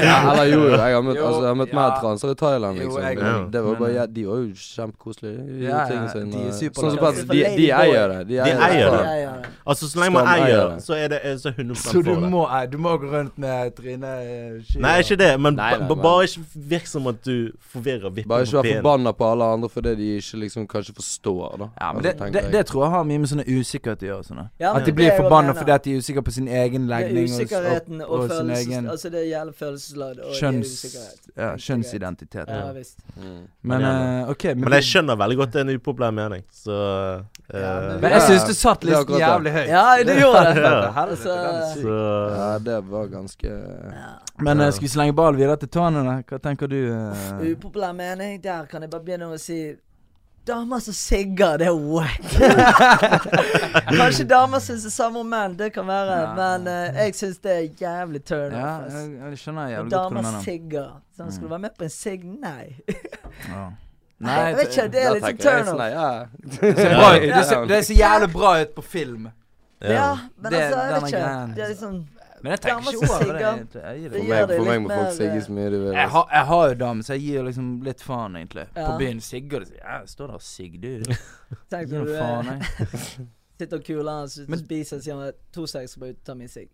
Ja, eller jo, jo, jeg har møtt, Jo, altså, jeg har møtt ja. mer transer i Thailand, Jo, liksom. jeg- Ja. Det var bare, men- ja, de var jo kjempekoselige. de Ja, ja, tingene sine. de er super- Sånn som bare, de, For de Ladyboy. eier det. De eier eier, det. det. Jeg gjør det. Altså, så lenge man Skam eier eier, det. så er det er så 100 Så for du det. må, eh, du må gå rundt med Trine eh, Skia? Nei, ikke det, men Nei, nei, ba- men- bare ikke virk som at du forvirrer vippen Bare ikke på være benen. forbanna på alle andre fordi de ikke liksom kanskje forstår, da. Ja, men Altså, det, tenker det, jeg. det tror jeg har mye med sånne usikkerhet å gjøre. Sånn. da. Ja, men at de det blir er jo forbanna det jeg fordi at de er usikre på sin Det egen er legning. og- usikkerheten og, sin følelsen egen Altså det gjelder følelsesladd og det er kjønns, usikkerhet. ja, kjønnsidentitet. Ja, da. visst. Mm. Men Men eh, OK. Men, Men jeg skjønner veldig godt det er en upopulær mening, så Ja, eh, men- men jeg syns du satt Det er listen akkurat jævlig det. høyt. Ja, det gjorde det. Ja. Altså, Så Ja, det var ganske Men eh, Ja. skal vi slenge ball videre til Tane? da? Hva tenker du? eh? upopulær mening, der kan jeg bare begynne å si Damer som sigger, det er wack. Kanskje damer syns det samme om menn, det kan være. Ja. Men eh, jeg syns det er jævlig turn Ja, off. jeg, jeg skjønner jævlig godt Mm. hva du Damer mener. sigger. Sånn, skal du være med på en sigg? Nei. Ja. Jeg vet ikke, det er litt sånn turn off. Det ser bra ut. Det ser, sånn- det ser jævlig bra ut på film. Ja, ja. men sånn, Det- altså, jeg den er vet ikke. grein. Det er liksom Men jeg Damer tenker som ikke over det. sigger. egentlig. Jeg gir For det. Det meg, gjør det for meg litt må folk mer, sigge så mye de vil. Jeg, har, jeg har jo dame, så jeg gir liksom litt faen, egentlig. På Ja. byen sigger det. Ja, jeg står der og sigger, du. Jeg Tenk Gir når noe du faen, eh, jeg. sitter og kuler han, så Men- spiser han, sier han to seks skal bare ut og ta min sigg.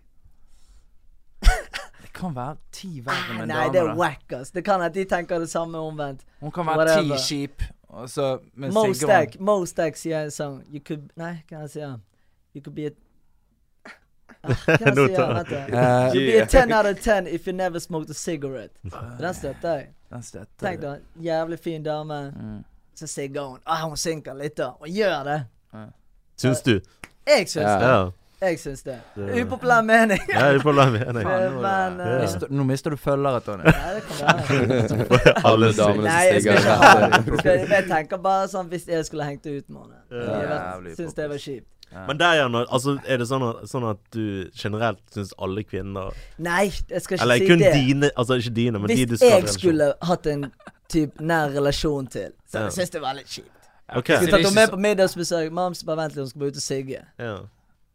Det kan være ti verre med en Ah, Nei, det er dame. da. wack, ass. Det kan at de tenker det samme omvendt. Hun kan være ti Whatever. kjip, og så men Mo sigger hun. Stack, Mo Stack sier en sang You could Nei, hva han sier han? You could be a Ah, Hva Nå sier tar- han? Vent da. Eh, You'd be a 10 out of 10 if you never smoked a cigarette. Den støtter jeg. den støtter Tenk jeg. da, jævlig fin dame, Mm. så sigger hun. Ah, hun synker litt, da. Hun gjør det. Syns du? Jeg syns Ja. det. Ja. Jeg syns det. Det- Upopulær mening. Ja, upopulær mening. Faen, nå er Men, det- eh, Mister- Nå mister du følgere, Tonje. Ja, det kan være. Alle damene Nei, jeg som skal stiger. ikke ha det. Skal- Jeg tenker bare sånn hvis jeg skulle hengt det ut med henne. Ja. Jeg Jævlig vet- Syns det var kjipt. Men der, Jan, altså, er det sånn at, sånn at du generelt syns alle kvinner Nei, jeg skal ikke Eller si kun det. dine, altså ikke dine, men de du Hvis skal ha jeg relasjon- skulle hatt en typ nær relasjon til, så Ja. jeg syns det var litt kjipt. Ok, Ja, Skulle det er tatt henne ikke med på middagsbesøk. Mams bare vent litt, hun skal bare ut og sigge. ja.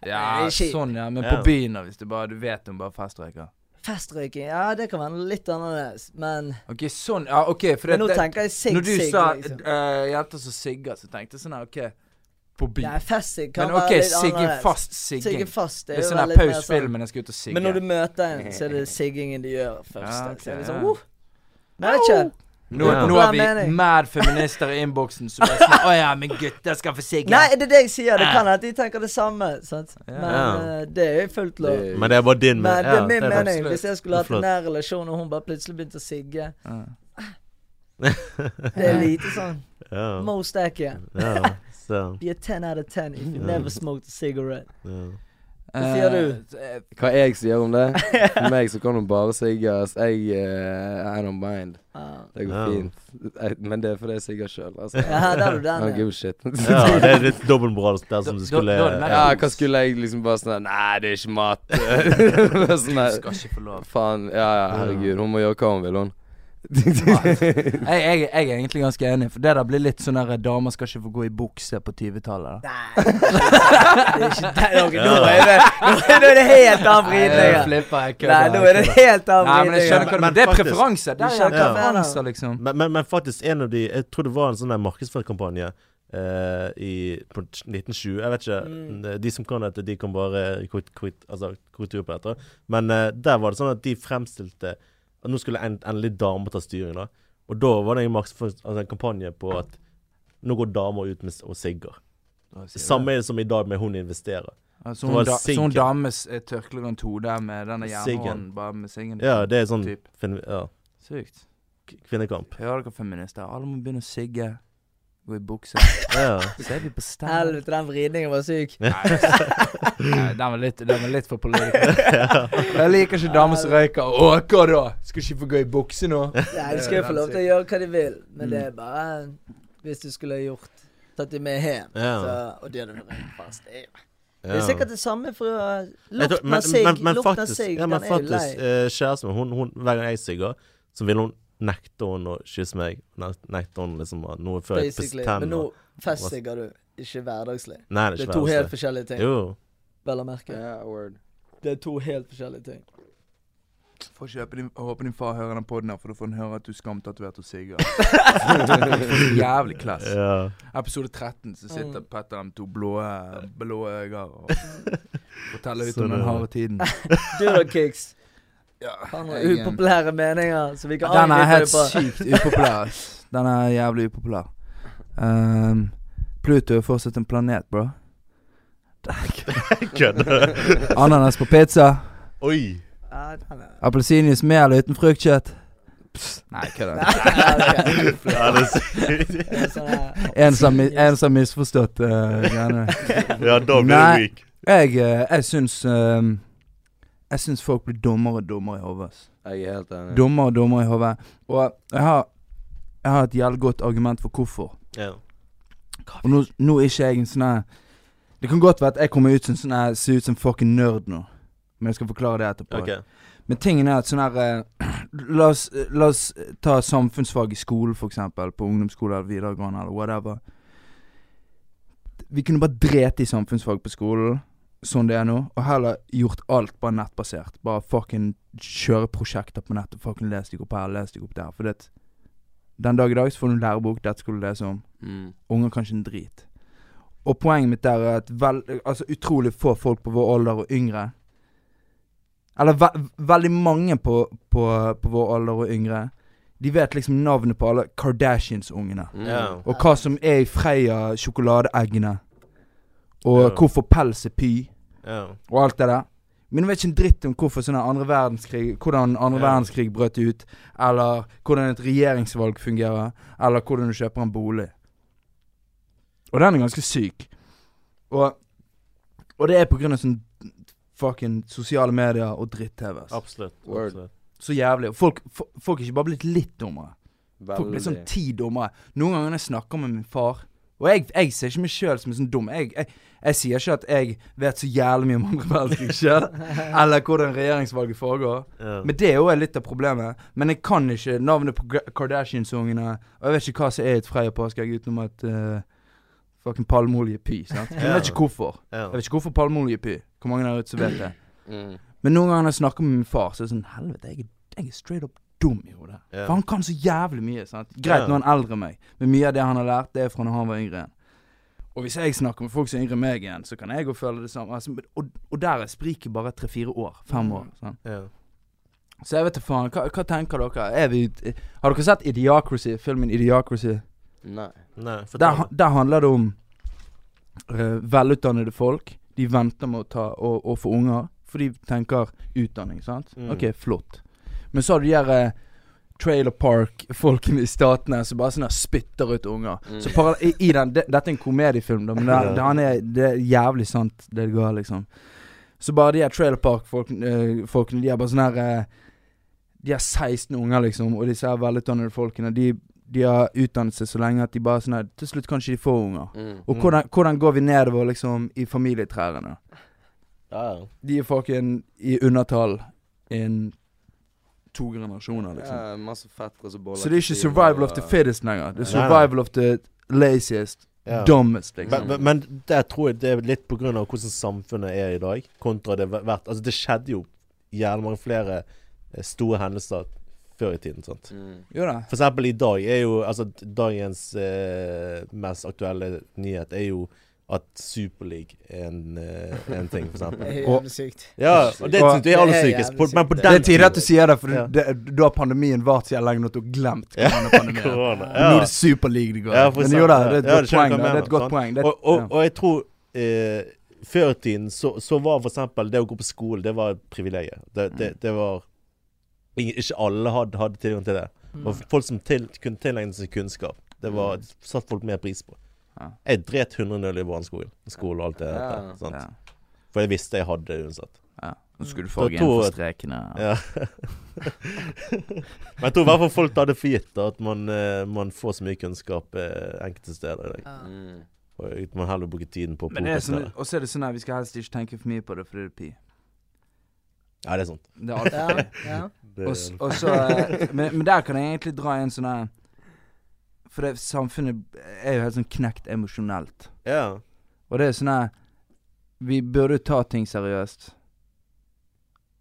Ja, Det er kjipt. sånn, ja. Men Ja. på byen, da, hvis du bare Du vet hun bare festrøyker. Festrøyking, ja det kan være litt annerledes, men, Ok, sånn. Ja, ok, for det, men nå det- tenker jeg Når du sigg-sigg, sa liksom. eh, jenter som sigger, så tenkte jeg sånn her, OK På by. Nei, festsigg kan Men være OK, litt sigge annerledes. fast Sigge sigging. fast, Det det er er jo sånn her veldig mer paus sånn. filmen, jeg skal ut og sigge. Men når du møter en, så er det siggingen de gjør først. Ja, da. Så er det ok, sånn, ja. uh. Men jeg vet ikke. Nå, Ja. nå har Bra vi mening. mad feminister i innboksen som er sånn Å ja, men gutter skal få sigge. Nei, det er det jeg sier. Det kan at de tenker det samme. Sant? Men Ja. eh, det er fullt lov. Det- Men det er bare din Men det ja, er det min er mening. faktisk- Hvis jeg skulle hatt en Flott. nær relasjon, og hun bare plutselig begynte å sigge Ja. Det er lite sånn Ja, Most accurate. ja, så, Be a 10 out of 10 if you never smoked a cigarette. ja. Hva sier du? Eh, Hva jeg sier om det? For meg så kan hun bare sigge. ass. Jeg eh, I don't mind. Ah. Det går Ja. fint. Jeg, men det er fordi jeg sigger sjøl, altså. Ja, der er du I den, don't ja. give a shit. ja, det er litt dobbeltmoral der som du Da- da- skulle da er det mer- Ja, hva skulle jeg liksom bare sånn Nei, det er ikke mat. Bare sånn Du der, skal ikke få lov. Faen. Ja, ja, herregud. Hun må gjøre hva hun vil, hun. Jeg, jeg, jeg er egentlig ganske enig, for det der blir litt sånn der damer skal ikke få gå i bukse på 20-tallet. da. Nei, det er ikke det. Ok, Nå er det, nå er det helt annen vridning. Nei, ja. flipper, jeg kødder. Nei, nå er det helt Nei, annen men jeg vridning. ja. skjønner hva Men- du mener. Det er faktisk- preferanser. Det skjønner hva er jeg preferanser, liksom. Men, men, men faktisk en av de Jeg tror det var en sånn der markedsføringskampanje eh, i, på 1920. Jeg vet ikke. Mm. Eh, De som kan dette, de kan bare kort, kort, altså, korrektur på dette. Men eh, der var det sånn at de fremstilte at Nå skulle en, endelig damer ta styring, da. Og da var det en, markedsføring- altså, en kampanje på at nå går damer ut med, s- og sigger. Samme er det som i dag med hun investerer. Altså, Det var hun, da, så hun siggen. dames eh, tørkle rundt hodet med denne jernhånden, Siggen. bare med siggen. Ja, det er sånn Typ. fin, ja, Sykt. k- kvinnekamp. Hører dere feminister? Alle må begynne å sigge. Gå i bukse. Ja. Så er vi på stell. Helvete, den vridningen var syk. Nei, den var litt, den var litt for political. Jeg liker ikke damer som røyker. Å, hva da? Skal ikke få gå i bukse nå? Nei, de skal jo få lov til å gjøre hva de vil, men det er bare eh, Hvis du skulle ha gjort Tatt de med hjem, Ja. så, og de hadde vært fast det er jo- Det er ja. sikkert det samme for uh, Jeg tror- Lukten av sigg, men, men lukten av faktisk, sigg, ja, den men er jo lei. faktisk eh, kjæresten min, hun, hun, hver gang jeg sigger, så vil hun nekte hun å kysse meg. Nek- Nekte hun liksom at noe før jeg Basically. Men nå bestemmer. festsigger du, ikke hverdagslig. Nei, det Det er er ikke to helt verre. forskjellige ting, Jo. vel å merke. Ja, word. Det er to helt forskjellige ting. Får ikke håpe din, håpe din far hører den podden her, for da får han høre at du skamtatovert og sigger. Jævlig klass. Ja. Episode 13 så sitter Mm. Petter med to blå, blå øyne og forteller ut Så om den det- harde tiden. Du da, Kicks. Ja, Har jeg, noen eh, upopulære meninger som vi kan Den er helt angripe deg på. sykt upopulær. ass. Den er jævlig upopulær. Ehm, Pluto er fortsatt en planet, bro. Kødder du? Ananas på pizza. Oi. Ja, den er- Appelsinjuice med eller uten fruktkjøtt. Nei, kødder. Ja, ok. Ja, det er sykt. Det er sånn her- En som mi- en som har misforstått eh, greiene. Ja, da blir Nei. du weak. Jeg, eh, jeg syns ehm, Jeg syns folk blir dummere og dummere i hodet. ass. Jeg er helt enig. Dummere og dummere i hodet. Og jeg har, jeg har et jævlig godt argument for hvorfor. Ja. Og nå, nå er ikke jeg en sånn her- Det kan godt være at jeg kommer ut som sånn her- ser ut som fucking nerd nå. Men jeg skal forklare det etterpå. OK. Men tingen er at sånn her eh, la, oss, la oss ta samfunnsfag i skolen, for eksempel. På ungdomsskole eller videregående eller whatever. Vi kunne bare drete i samfunnsfag på skolen, sånn det er nå, og heller gjort alt bare nettbasert. Bare fucking kjøre prosjekter på nettet. Fucking les deg opp her, les deg opp der. For det, den dag i dag så får du en lærebok, dette skal du lese om. Mm. Unger kan ikke en drit. Og poenget mitt der er at vel, altså, utrolig få folk på vår alder og yngre Eller ve veldig mange på, på, på vår alder og yngre. De vet liksom navnet på alle Kardashians-ungene. Mm. Ja. Og hva som er i Freia sjokoladeeggene. Og Ja. hvorfor pels er py, Ja. og alt det der. Men jeg vet ikke en dritt om hvorfor sånn her andre verdenskrig hvordan andre Ja. verdenskrig brøt ut. Eller hvordan et regjeringsvalg fungerer. Eller hvordan du kjøper en bolig. Og den er ganske syk. Og, og det er på grunn av sånn fucking sosiale medier og dritt-TV. ass. Absolutt. Word. absolutt. Så jævlig. Og folk, fo- folk er ikke bare blitt litt dummere. Folk blir Veldig. sånn ti dummere. Noen ganger når jeg snakker med min far Og jeg, jeg ser ikke meg sjøl som en sånn dum. Jeg, jeg, jeg sier ikke at jeg vet så jævlig mye om andre verdenskrig sjøl, eller hvordan regjeringsvalget foregår. Ja. Men det er jo litt av problemet. Men jeg kan ikke navnet på Gra- Kardashians-ungene, og jeg vet ikke hva som er et Freia påskeegg utenom at eh, fucking palmeolje er py. sant? Men jeg vet ikke hvorfor. Ja. Jeg vet ikke hvorfor palmeolje er py. Hvor mange der ute som vet det? Mm. Men noen ganger når jeg snakker med min far, så er det sånn Helvete, jeg, er- jeg er straight up dum i hodet. Ja. For han kan så jævlig mye. sant? Greit, Ja. nå er han eldre enn meg, men mye av det han har lært, det er fra når han var yngre igjen. Og hvis jeg snakker med folk som er yngre enn meg igjen, så kan jeg Mm. òg føle det samme. Altså, men- og, og der er spriket bare tre-fire år. Fem år. sant? Ja. Så jeg vet da faen. Hva, hva tenker dere? Er vi, har dere sett Idiocracy? Filmen Idiocracy? Nei. Nei, Der, fortell. han- der handler det om eh, velutdannede folk. De venter med å, ta, å, å få unger, for de tenker utdanning, sant? Mm. Ok, flott. Men så har du de der eh, trailer park-folkene i statene som bare sånn her spytter ut unger. Mm. Så para, i, i den, det, Dette er en komediefilm, da, men det, Ja. det, han er, det er jævlig sant, det det går, liksom. Så bare de her trailer park-folkene, eh, folkene, de er bare sånn her eh, de har 16 unger, liksom, og disse her velutdannede folkene, de, de har utdannet seg så lenge at de bare sånn her Til slutt kan ikke de få unger. Mm. Og hvordan, hvordan går vi nedover, liksom, i familietrærne? Ja, ja. De er fucking i undertall innen to generasjoner, liksom. Ja, masse fettere som boller. Så det er ikke til siden, 'survival of og- the fittest' lenger. Det er Nei, nei. 'survival of the laziest', Ja. dumbest, liksom. Men, men- men der tror jeg det er litt på grunn av hvordan samfunnet er i dag, kontra det har vært Altså, det skjedde jo jævlig mange flere eh, store hendelser før i tiden, sant. Mm. Jo da. For eksempel i dag er jo Altså, dagens eh, mest aktuelle nyhet er jo at Superleague er en, eh, en ting, for Det eksempel. er Og- jævlig sykt. Ja, og det, synes jeg er aller Det er sykest. På- jævlig Men på sykt. Det er den tidlig at du sier det, for Ja. det, da har pandemien vart så jævlig lenge at du har glemt koronapandemien. korona. Men Nå er Ja. det Superleague det går. Ja, for Men jo eksempel, da, ja. det er et Ja, godt det skjønner poeng. hva jeg da. Det er et mener, godt sant? poeng. Det er- Og, og, ja. og jeg tror eh, Før i tiden så, så var for eksempel det å gå på skole, det var et privilegium. Det, Mm. det, det var ingen- Ikke alle hadde, hadde tilgang til det. Mm. Og Mm. folk som til, kunne tilegne seg kunnskap, det var, satt folk mer pris på. Ja. Jeg dret 100-0 i barneskolen. Skole og alt det Ja. der. sant? Ja. For jeg visste jeg hadde det uansett. Ja. Nå skulle du Da få igjen tror for jeg- strekene. Ja. Ja. Men jeg tror i hvert fall folk tar det for gitt da, at man, eh, man får så mye kunnskap eh, enkelte steder i dag. Mm. Og at man heller bruker tiden på å Men det er pokre sånn, stedet. og så er det sånn her, vi skal helst ikke tenke for mye på det, for det er pi. Ja, det er sant. Det er alt for Ja, pi. ja. Det, Og s- og så, eh, men, men der kan jeg egentlig dra en sånn her For det, samfunnet er jo helt sånn knekt emosjonelt. ja. Og det er sånn her Vi burde jo ta ting seriøst.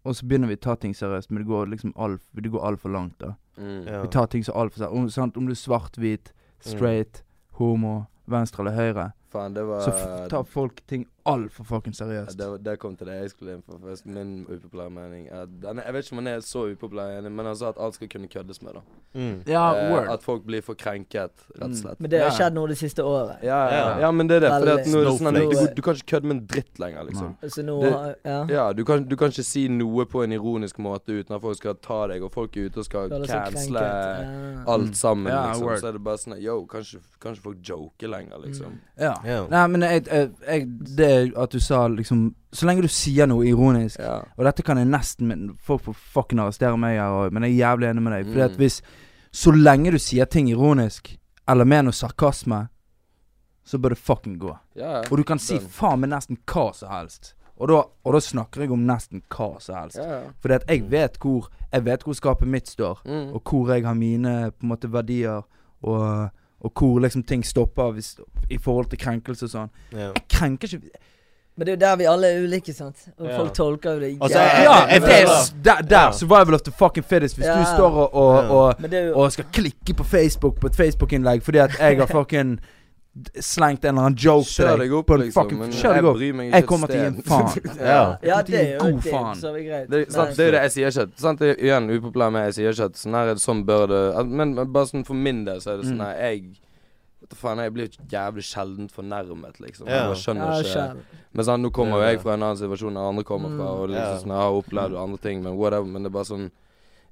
Og så begynner vi å ta ting seriøst, men det går liksom alt Det går altfor langt, da. Mm. ja. Vi tar ting så altfor seriøst. Om, sant, om du er svart, hvit, straight, homo, venstre eller høyre. Faen, det var Så f tar folk ting altfor fucking seriøst. det, var- det kom til det jeg skulle inn på først. Min upopulære mening. er- den er- jeg vet ikke om den er så upopulær, enig, men altså at alt skal kunne køddes med. da Mm. Ja, Eh, word. At folk blir for krenket, rett og Mm. slett. Men det har Ja. skjedd nå det siste året. Ja, Ja. ja, ja, men det er det. Fordi at nå er det sånn at Snowflakes. du, du, kan ikke kødde med en dritt lenger, liksom. Så nå Det- har ja. Ja, du kan, du kan ikke si noe på en ironisk måte uten at folk skal ta deg, og folk er ute og skal Da er det så cancele krenket. Ja. alt sammen, Ja, liksom. word. Så er det bare sånn at, yo, kanskje, kanskje folk joker lenger, liksom. Ja. Ja. Nei, men jeg, jeg, jeg, det at du sa liksom Så lenge du sier noe ironisk Ja. Og dette kan jeg nesten men Folk får fucking arrestere meg her og- men jeg er jævlig enig med deg. Fordi at Mm. hvis Så lenge du sier ting ironisk, eller med noe sarkasme, så bør det fucking gå. ja. Og du kan si Den. faen meg nesten hva som helst. Og da, og da snakker jeg om nesten hva som helst. Ja, ja. Fordi at jeg vet hvor Jeg vet hvor skapet mitt står, Mm. og hvor jeg har mine på en måte verdier, og, og hvor liksom ting stopper hvis, i forhold til krenkelse og sånn. Ja. Jeg krenker ikke Men det er jo der vi alle er ulike, sant? Og Ja. folk tolker jo det Altså, jævlig- jeg- Ja! jeg det er, føler- s- der, der! Ja. Survival of the fucking fittest. Hvis Ja. du står og, og, og, Men det er jo og skal klikke på Facebook på et Facebook-innlegg fordi at jeg har fucking slengt en eller annen joke til Kjør deg opp, på en liksom. fucking- Men kjør deg jeg opp. bryr meg ikke Jeg et kommer til å gi en sted. faen. Ja. Ja, det er jo God det, faen. så er det greit. Det, er- sant, Men- det er jo det jeg sier ikke. Sant, det er igjen upopulær med jeg sier ikke at sånn her er det sånn bør det at- Men men bare sånn for min del så er det sånn Mm. her jeg Vet du faen, jeg blir jævlig sjeldent fornærmet, liksom. Ja. Jeg bare skjønner Ja, ikke sjæl. Men sånn, nå kommer jo Ja. jeg fra en annen situasjon enn andre kommer fra, og det er Ja. Mm. liksom sånn, jeg har opplevd andre ting, men whatever. Men det er bare sånn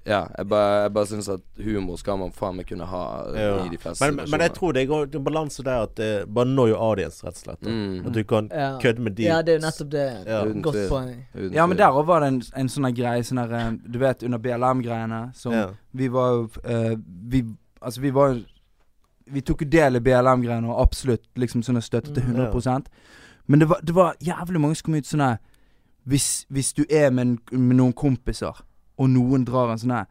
Ja, jeg bare, jeg bare syns at humor skal man faen meg kunne ha eh, Ja. i de fleste Men, men jeg tror det går det er en balanse der at eh, bare know your audience, rett og slett. da. Mm. At du kan Ja. kødde med de ja, det er jo nettopp det. Ja. Uten Godt tvil. poeng. Uten Ja, men tvil. der òg var det en, en sånn her greie, sånn her eh, Du vet, under BLM-greiene, som Ja. Vi var jo eh, Vi Altså, vi var jo Vi tok jo del i BLM-greiene og absolutt liksom sånne støtte til Mm. 100 Men det var, det var jævlig mange som kom ut sånn her hvis, hvis du er med, en- med noen kompiser, og noen drar en sånn her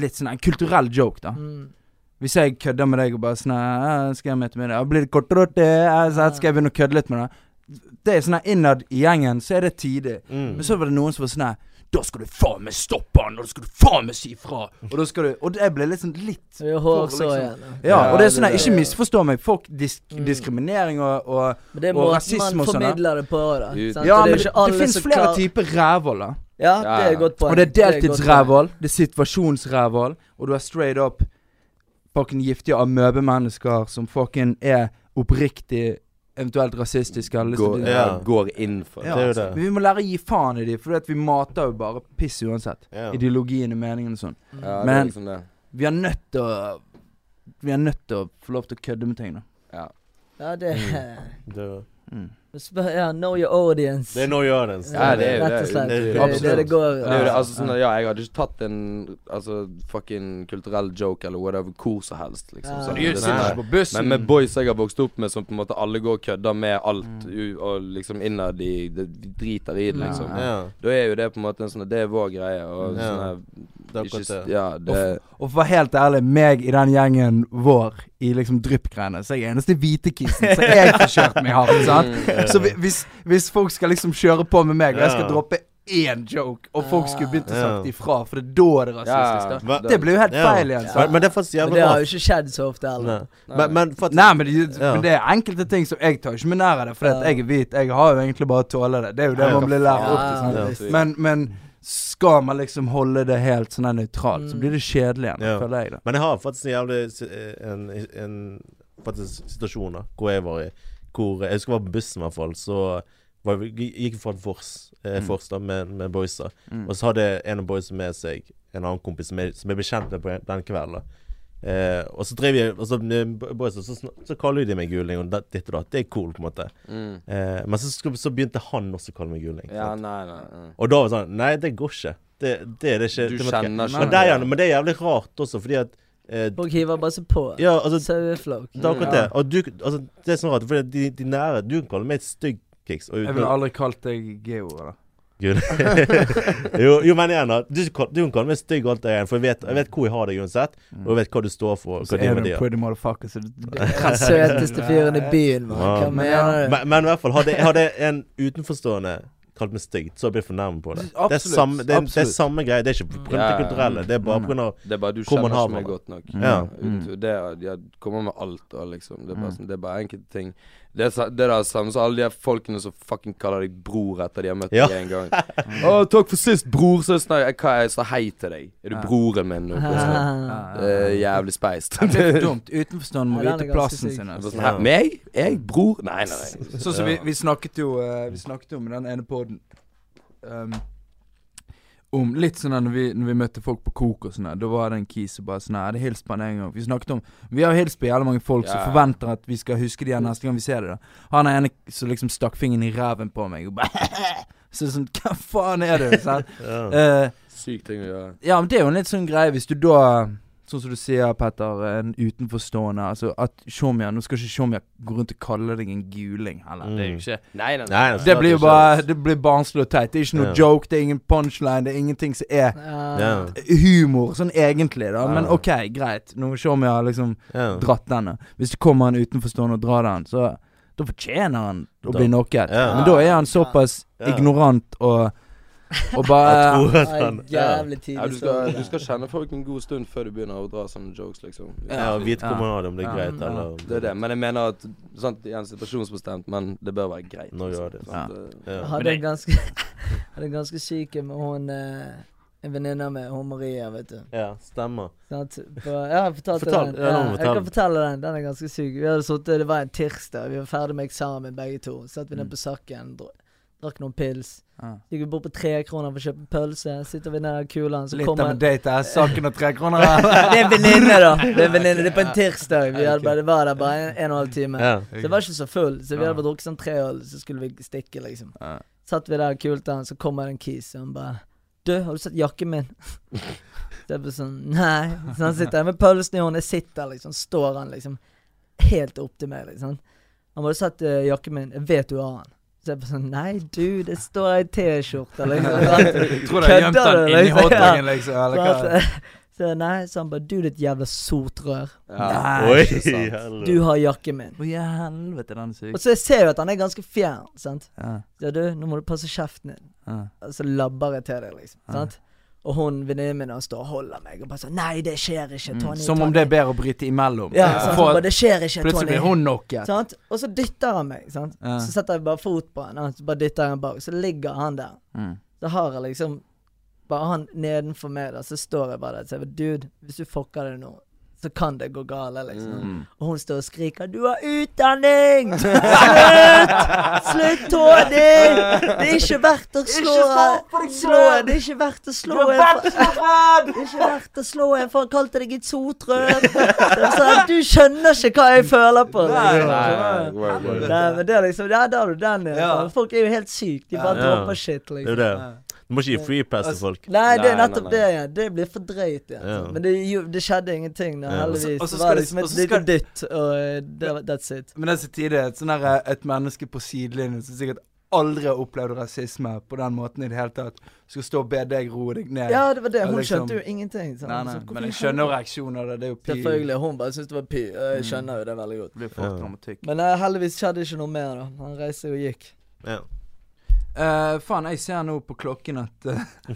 Litt sånn her, en kulturell joke, da. Mm. Hvis jeg kødder med deg og bare sånn her, «Eh, 'Skal jeg møte med deg?' «Ja, 'Blir det kort og rart?' eh, eh», så her Skal jeg begynne å kødde litt med deg? Det er sånn her innad i gjengen, så er det tidlig. Mm. Men så var det noen som var sånn her Da skal du faen meg stoppe han, og da skal du faen meg si ifra! Og da skal du Og det ble litt sånn litt Så det er jo hårsår igjen. da. Ja, og det er sånn Ja, her, det- ikke misforstå meg. Folk dis Mm. diskriminering og, og Men det er Og måten rasisme man og sånn, ja. formidler det på, da. Ut- sant? Ja, Og men jo det, ikke alle det fins som flere klarer- typer rævhold, da. Ja, Ja, det er ja. et godt poeng. Og det er et godt poeng. deltidsrævhold, det er situasjonsrævhold, og du er straight up fucking giftige amøbemennesker som fucking er oppriktig, eventuelt rasistiske. eller Går, liksom- Ja. går inn for Ja. det. Det er jo altså, Men det. vi må lære å gi faen i de, for du vet, vi mater jo bare piss uansett. Ja. Ideologien og meningen og sånn. Mm. Ja, det er Men- liksom det. Vi er nødt til å Vi er nødt til å få lov til å kødde med ting, da. Ja, det Det er jo- Mm. Spør, ja, know your audience. Det er no audience. Ja, det er jo Rett og det. slett. Det er Det jo er det det absolutt. går Det er jo det, altså sånn, at, Ja, jeg hadde ikke tatt en altså, fucking kulturell joke eller whatever hvor som helst, liksom. Ja. sånn. Du Det er sitter sånn- ikke på Men med boys jeg har vokst opp med, som på en måte alle går og kødder med alt, u- og liksom innad i De de driter i det, liksom. Ja, Da er jo det på en måte en sånn Det er vår greie, og Ja. sånn det er akkurat det. Ja, det Og for å være helt ærlig, meg i den gjengen vår i liksom dryppgreiene, så er jeg eneste hvite kissen så jeg får kjørt meg hardt. sant? Så vi- hvis, hvis folk skal liksom kjøre på med meg, og jeg skal Ja. droppe én joke, og folk skulle begynt å Ja. sagt ifra, for det er da er det Ja. rasistisk. Hva- da Det blir jo helt Ja. feil igjen. sant? Men, men det er faktisk Men jævlig det bra. har jo ikke skjedd så ofte heller. Nei. Men, men for at- Nei, men det, Ja. men det er enkelte ting som jeg tar ikke meg nær av det, fordi at Ja. jeg er hvit. Jeg har jo egentlig bare å tåle det. Det er jo det Ja, man blir lært ja, opp til. sant? ja, visst. Men, men skal man liksom holde det helt sånn her nøytralt, så Mm. blir det kjedelig igjen, Ja. føler jeg. da Men jeg har faktisk en jævlig si- en, en faktisk situasjon da, hvor jeg var i. Hvor, jeg husker jeg var på bussen i hvert fall, så var, vi- gikk vi fra Fors, eh, Mm. Fors da, med, med boysa. Og så hadde en av boysa med seg en annen kompis som jeg, som jeg ble kjent med på en- den kvelden. da. Eh, og så drev jeg, og så, eh, boysa, så, sn- så kaller de meg guling og det- ditt og datt. Det er cool, på en måte. mm. Eh, men så, sk- så begynte han også å kalle meg guling. Ja, sant? nei, nei. Og da var det sånn Nei, det går ikke. Det, det er det ikke. Du det må ikke- kjenner ikke men det, er, gjerne- men det er jævlig rart også, fordi at eh, Folk hiver bare seg på. ja, altså, Saueflokk. det er akkurat det. Og du, altså, det er sånn rart, for de, de nære Du kan kalle meg et stygg kiks. Og, Jeg ville aldri kalt deg geo. Da. Gud. jo, jo, men igjen, da. Du, kan- du kan kalle meg stygg og alt det igjen, for jeg vet, jeg vet hvor jeg har deg uansett. Og jeg vet hva du står for. Og Mm. Så hva dine er du verdier en pretty motherfucker, så du Den søteste fyren i byen, mann. Ja. Hva mener du? men, men i hvert fall, hadde, hadde en utenforstående kalt meg stygg, så hadde jeg blitt fornærmet på det. det, er Absolutt, samme, det, er, det er absolutt. samme greie. Det er ikke pga. det Ja, ja. kulturelle. Det er bare Mm. pga. Det er bare du Hvor man kjenner har ikke meg hverandre. godt nok. Ja. Mm. Uten tvil. Det er, ja, kommer med alt og liksom. Det er bare, sånn, det er bare enkelte ting. Det er, sa- det er det samme som alle de her folkene som fucking kaller deg bror etter de har møtt Ja. deg en gang. Å, takk for sist, bror. Så er det sånn, jeg, hva, jeg sa hei til deg. Er du Ja. broren min nå? plutselig? Ah. Det er jævlig speist. Det er for dumt. Utenforstående Ja, må den er ganske vite plassen syk. sin. Og altså. så sånn, hæ, meg? Jeg? Bror? Nei, nei, nei. Sånn som vi, vi snakket jo eh, Vi snakket jo med den ene poden om litt sånn der når vi, når vi møtte folk på Kok og sånn der, Da var det en kis som bare sånn her, Jeg hadde hilst på han en gang. Vi snakket om Vi har jo hilst på jævlig mange folk som Ja. forventer at vi skal huske de her neste gang vi ser dem. Han er ene som liksom stakk fingeren i ræven på meg og bare Så det er sånn Hva faen er du? Sånn. Ja. Eh, Syk ting å gjøre. ja, men det er jo en litt sånn greie hvis du da Sånn som du sier, Petter, en utenforstående Altså at Shomya Nå skal ikke Shomya gå rundt og kalle deg en guling heller. Det er jo ikke Nei, nei, nei. Nei, altså, Det blir jo Mm. er bare Det blir barnslig og teit. Det er ikke noe Ja. joke, det er ingen punchline, det er ingenting som er Ja. ja, humor, sånn egentlig, da. Men Ja. OK, greit. Nå Shomya har liksom ja. dratt denne. Hvis det kommer en utenforstående og drar den, så Da fortjener han å Da- bli knocket. Ja. Men da er han såpass Ja. ignorant og Og bare Jeg tror at Nei, han- ja. Jævlig Ja, tidlig du, story, skal, da. du skal kjenne folk en god stund før du begynner å dra sånne jokes, liksom. Ja, og vite hvor man har det, om det er Ja. greit Ja. eller Det er det. Men jeg mener at sant, igjen situasjonsbestemt, men det bør være greit. Nå gjør det. sant? Ja. Jeg hadde en ganske Hadde en ganske syk en med hun eh, En venninne med hun Maria, vet du. Ja, stemmer. Sant? På, ja, jeg fortalte Fortell- den. ja, la meg jeg fortelle. kan fortelle den. Den er ganske syk. Vi hadde sittet, Det var en tirsdag, vi var ferdig med eksamen begge to. Satt vi ned på Sakken, dra- drakk noen pils. Ja. Gikk vi bort på tre kroner for å kjøpe pølse. Sitter vi ned i kulene, så Litt av kommer en date er saken og tre kroner her. Det er en venninne, da. Det er en venninne, det er på en tirsdag. Vi hadde bare, det var der bare en, en og en halv time. Ja. Så jeg var ikke så full, så vi hadde bare drukket sånn tre øl, så skulle vi stikke, liksom. Ja. Satt vi der kult, da, så kommer det en kis, og han bare Du, har du sett jakken min? Så jeg bare sånn Nei. Så han sitter der med pølsen i hånden, jeg sitter liksom, står han liksom helt opp til meg, liksom. Han bare «Har du sett eh, jakken min, jeg vet du har den. Så jeg bare sånn Nei, du, det står ei T-skjorte, liksom. Tror du jeg gjemte Kødder den du, inni liksom? hotdogen, liksom? Eller hva? Så, så nei, så han bare Du, ditt jævla sotrør. Ja. Nei, Oi, ikke sant. helvete. Du har jakken min. Å, i helvete, den er syk. Og så jeg ser jo at han er ganske fjern, sant. Ja, Ja, du, nå må du passe kjeften din. ja. Og så labber jeg til deg, liksom. Sant? Og hun venninnen min hun står og holder meg og bare sånn Nei, det skjer ikke, Tony. Mm. Som om Tony.» det er bedre å bryte imellom. Ja, Og sant, få- hun bare, det skjer ikke, plutselig Tony. blir hun knocket. Sant? Og så dytter han meg, sant. Ja. Så setter jeg bare fot på han, og så bare dytter jeg han bak. Så ligger han der. Mm. Så har jeg liksom Bare han nedenfor meg, da, så står jeg bare der og sier Dude, hvis du fucker det nå, så kan det gå galt, liksom. Mm. Og hun står og skriker 'Du har utdanning! Slutt! Slutt, Tony! Det er ikke verdt å slå Slå Det er ikke verdt å slå en for- Det er ikke verdt å slå en, for han kalte deg et sotrør. Så Du skjønner ikke hva jeg føler på. liksom. Nei, word, word. Nei, men det er liksom Ja, da har du den. Ja. Ja. faen. Folk er jo helt syke. De bare Ja. dropper shit, Det er jo liksom. det. Du må ikke gi freepass til folk. Nei, det er Nei, nei, nettopp nei. det igjen. Det blir for drøyt igjen. Ja. Men det, jo, det skjedde ingenting, da, Ja. heldigvis. Og så- og så Det skal var det- liksom og et så lite skal dytt, og eh, det, var- that's it. Men det er så tidlig et sånn her, et menneske på sidelinjen som sikkert aldri har opplevd rasisme på den måten i det hele tatt, skal stå og be deg roe deg ned. Ja, det var det. Ja, Hun liksom- skjønte jo ingenting. sant? nei, nei, Så hvorfor men jeg i skjønner jo helvete? reaksjonen av det. Det er jo pi. Selvfølgelig. Hun bare syntes det var py. og Jeg skjønner jo det veldig godt. Det blir Ja. fort dramatikk. Men eh, heldigvis skjedde ikke noe mer, da. Han reiste og gikk. Ja. Eh, faen, jeg ser nå på klokken at eh,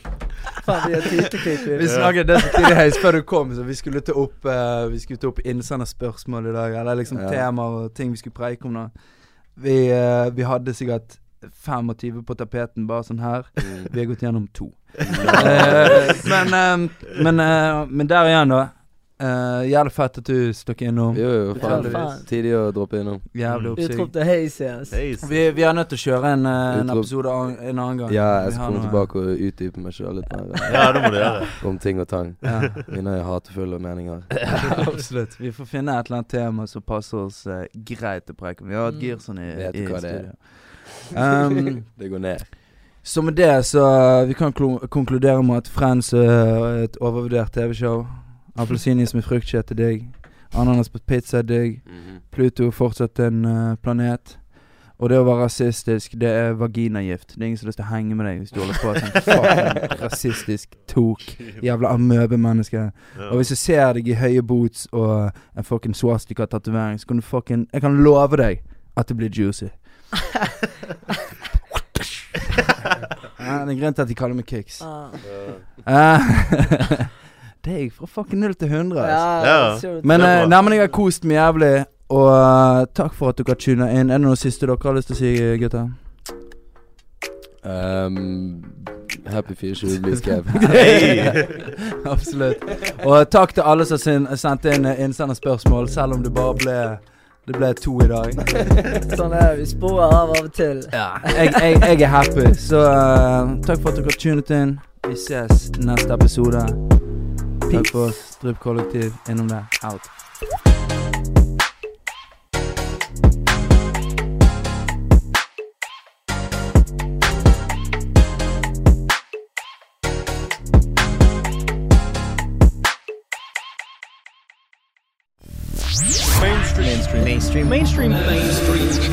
Faen, vi er tidligere. Vi snakket det så tidlig her før du kom, så vi skulle ta opp eh, Vi skulle ta opp innsenderspørsmål i dag, eller liksom Ja. temaer og ting vi skulle preike om. da Vi, eh, vi hadde sikkert 25 på tapeten, bare sånn her. Mm. Vi har gått gjennom to. Eh, men, eh, men, eh, men der igjen, da. Uh, jævlig fett at du stakk innom. Jo, jo, faen. Tilfeldigvis. Tidlig å droppe innom. Mm. Jævlig oppsig. Utropte Haze igjen. Nice. Vi, vi er nødt til å kjøre en, eh, en Utrop. episode an, en annen gang. Ja, Vi jeg skal har komme noe- tilbake og utdype meg sjøl litt mer eh, Ja, det må du gjøre. om ting og tang. Ja. Mine hatefulle meninger. Absolutt. Vi får finne et eller annet tema som passer oss eh, greit til preken. Vi har hatt Mm. Girson i, Vet i du hva det er? studio. Um, Det går ned. så med det så eh, Vi kan klo- konkludere med at Friends eh, er et overvurdert TV-show. Appelsinis med fruktkjøtt er digg. Ananas på pizza er digg. Mhm. Pluto er fortsatt en eh, planet. Og det å være rasistisk, det er vaginagift. Det er ingen som har lyst til å henge med deg hvis du holder på sånn fucking rasistisk tok. Jævla amøbemenneske. Og hvis jeg ser deg i høye boots og en fucking swastika-tatovering, så kan du fucking Jeg kan love deg at det blir juicy. ja, det er grunnen til at de kaller meg Kicks. Ah. Eh, det gikk fra fucking null til 100. Altså. Ja. Ja, sure. Men Det er eh, bra. nei, men jeg har kost meg jævlig, og eh, takk for at dere tuna inn. Er det noe siste dere har lyst til å si, gutter? Um, happy 24 blir skrevet. Absolutt. Og takk til alle som sin- sendte inn eh, innsenderspørsmål, selv om det bare ble Det ble to i dag. Sånn er vi. Sporer av av og til. jeg, jeg, jeg er happy. Så eh, takk for at dere har tunet inn. Vi ses neste episode. Takk for oss. Drypp kollektiv innom det. Out. mainstream mainstream mainstream mainstream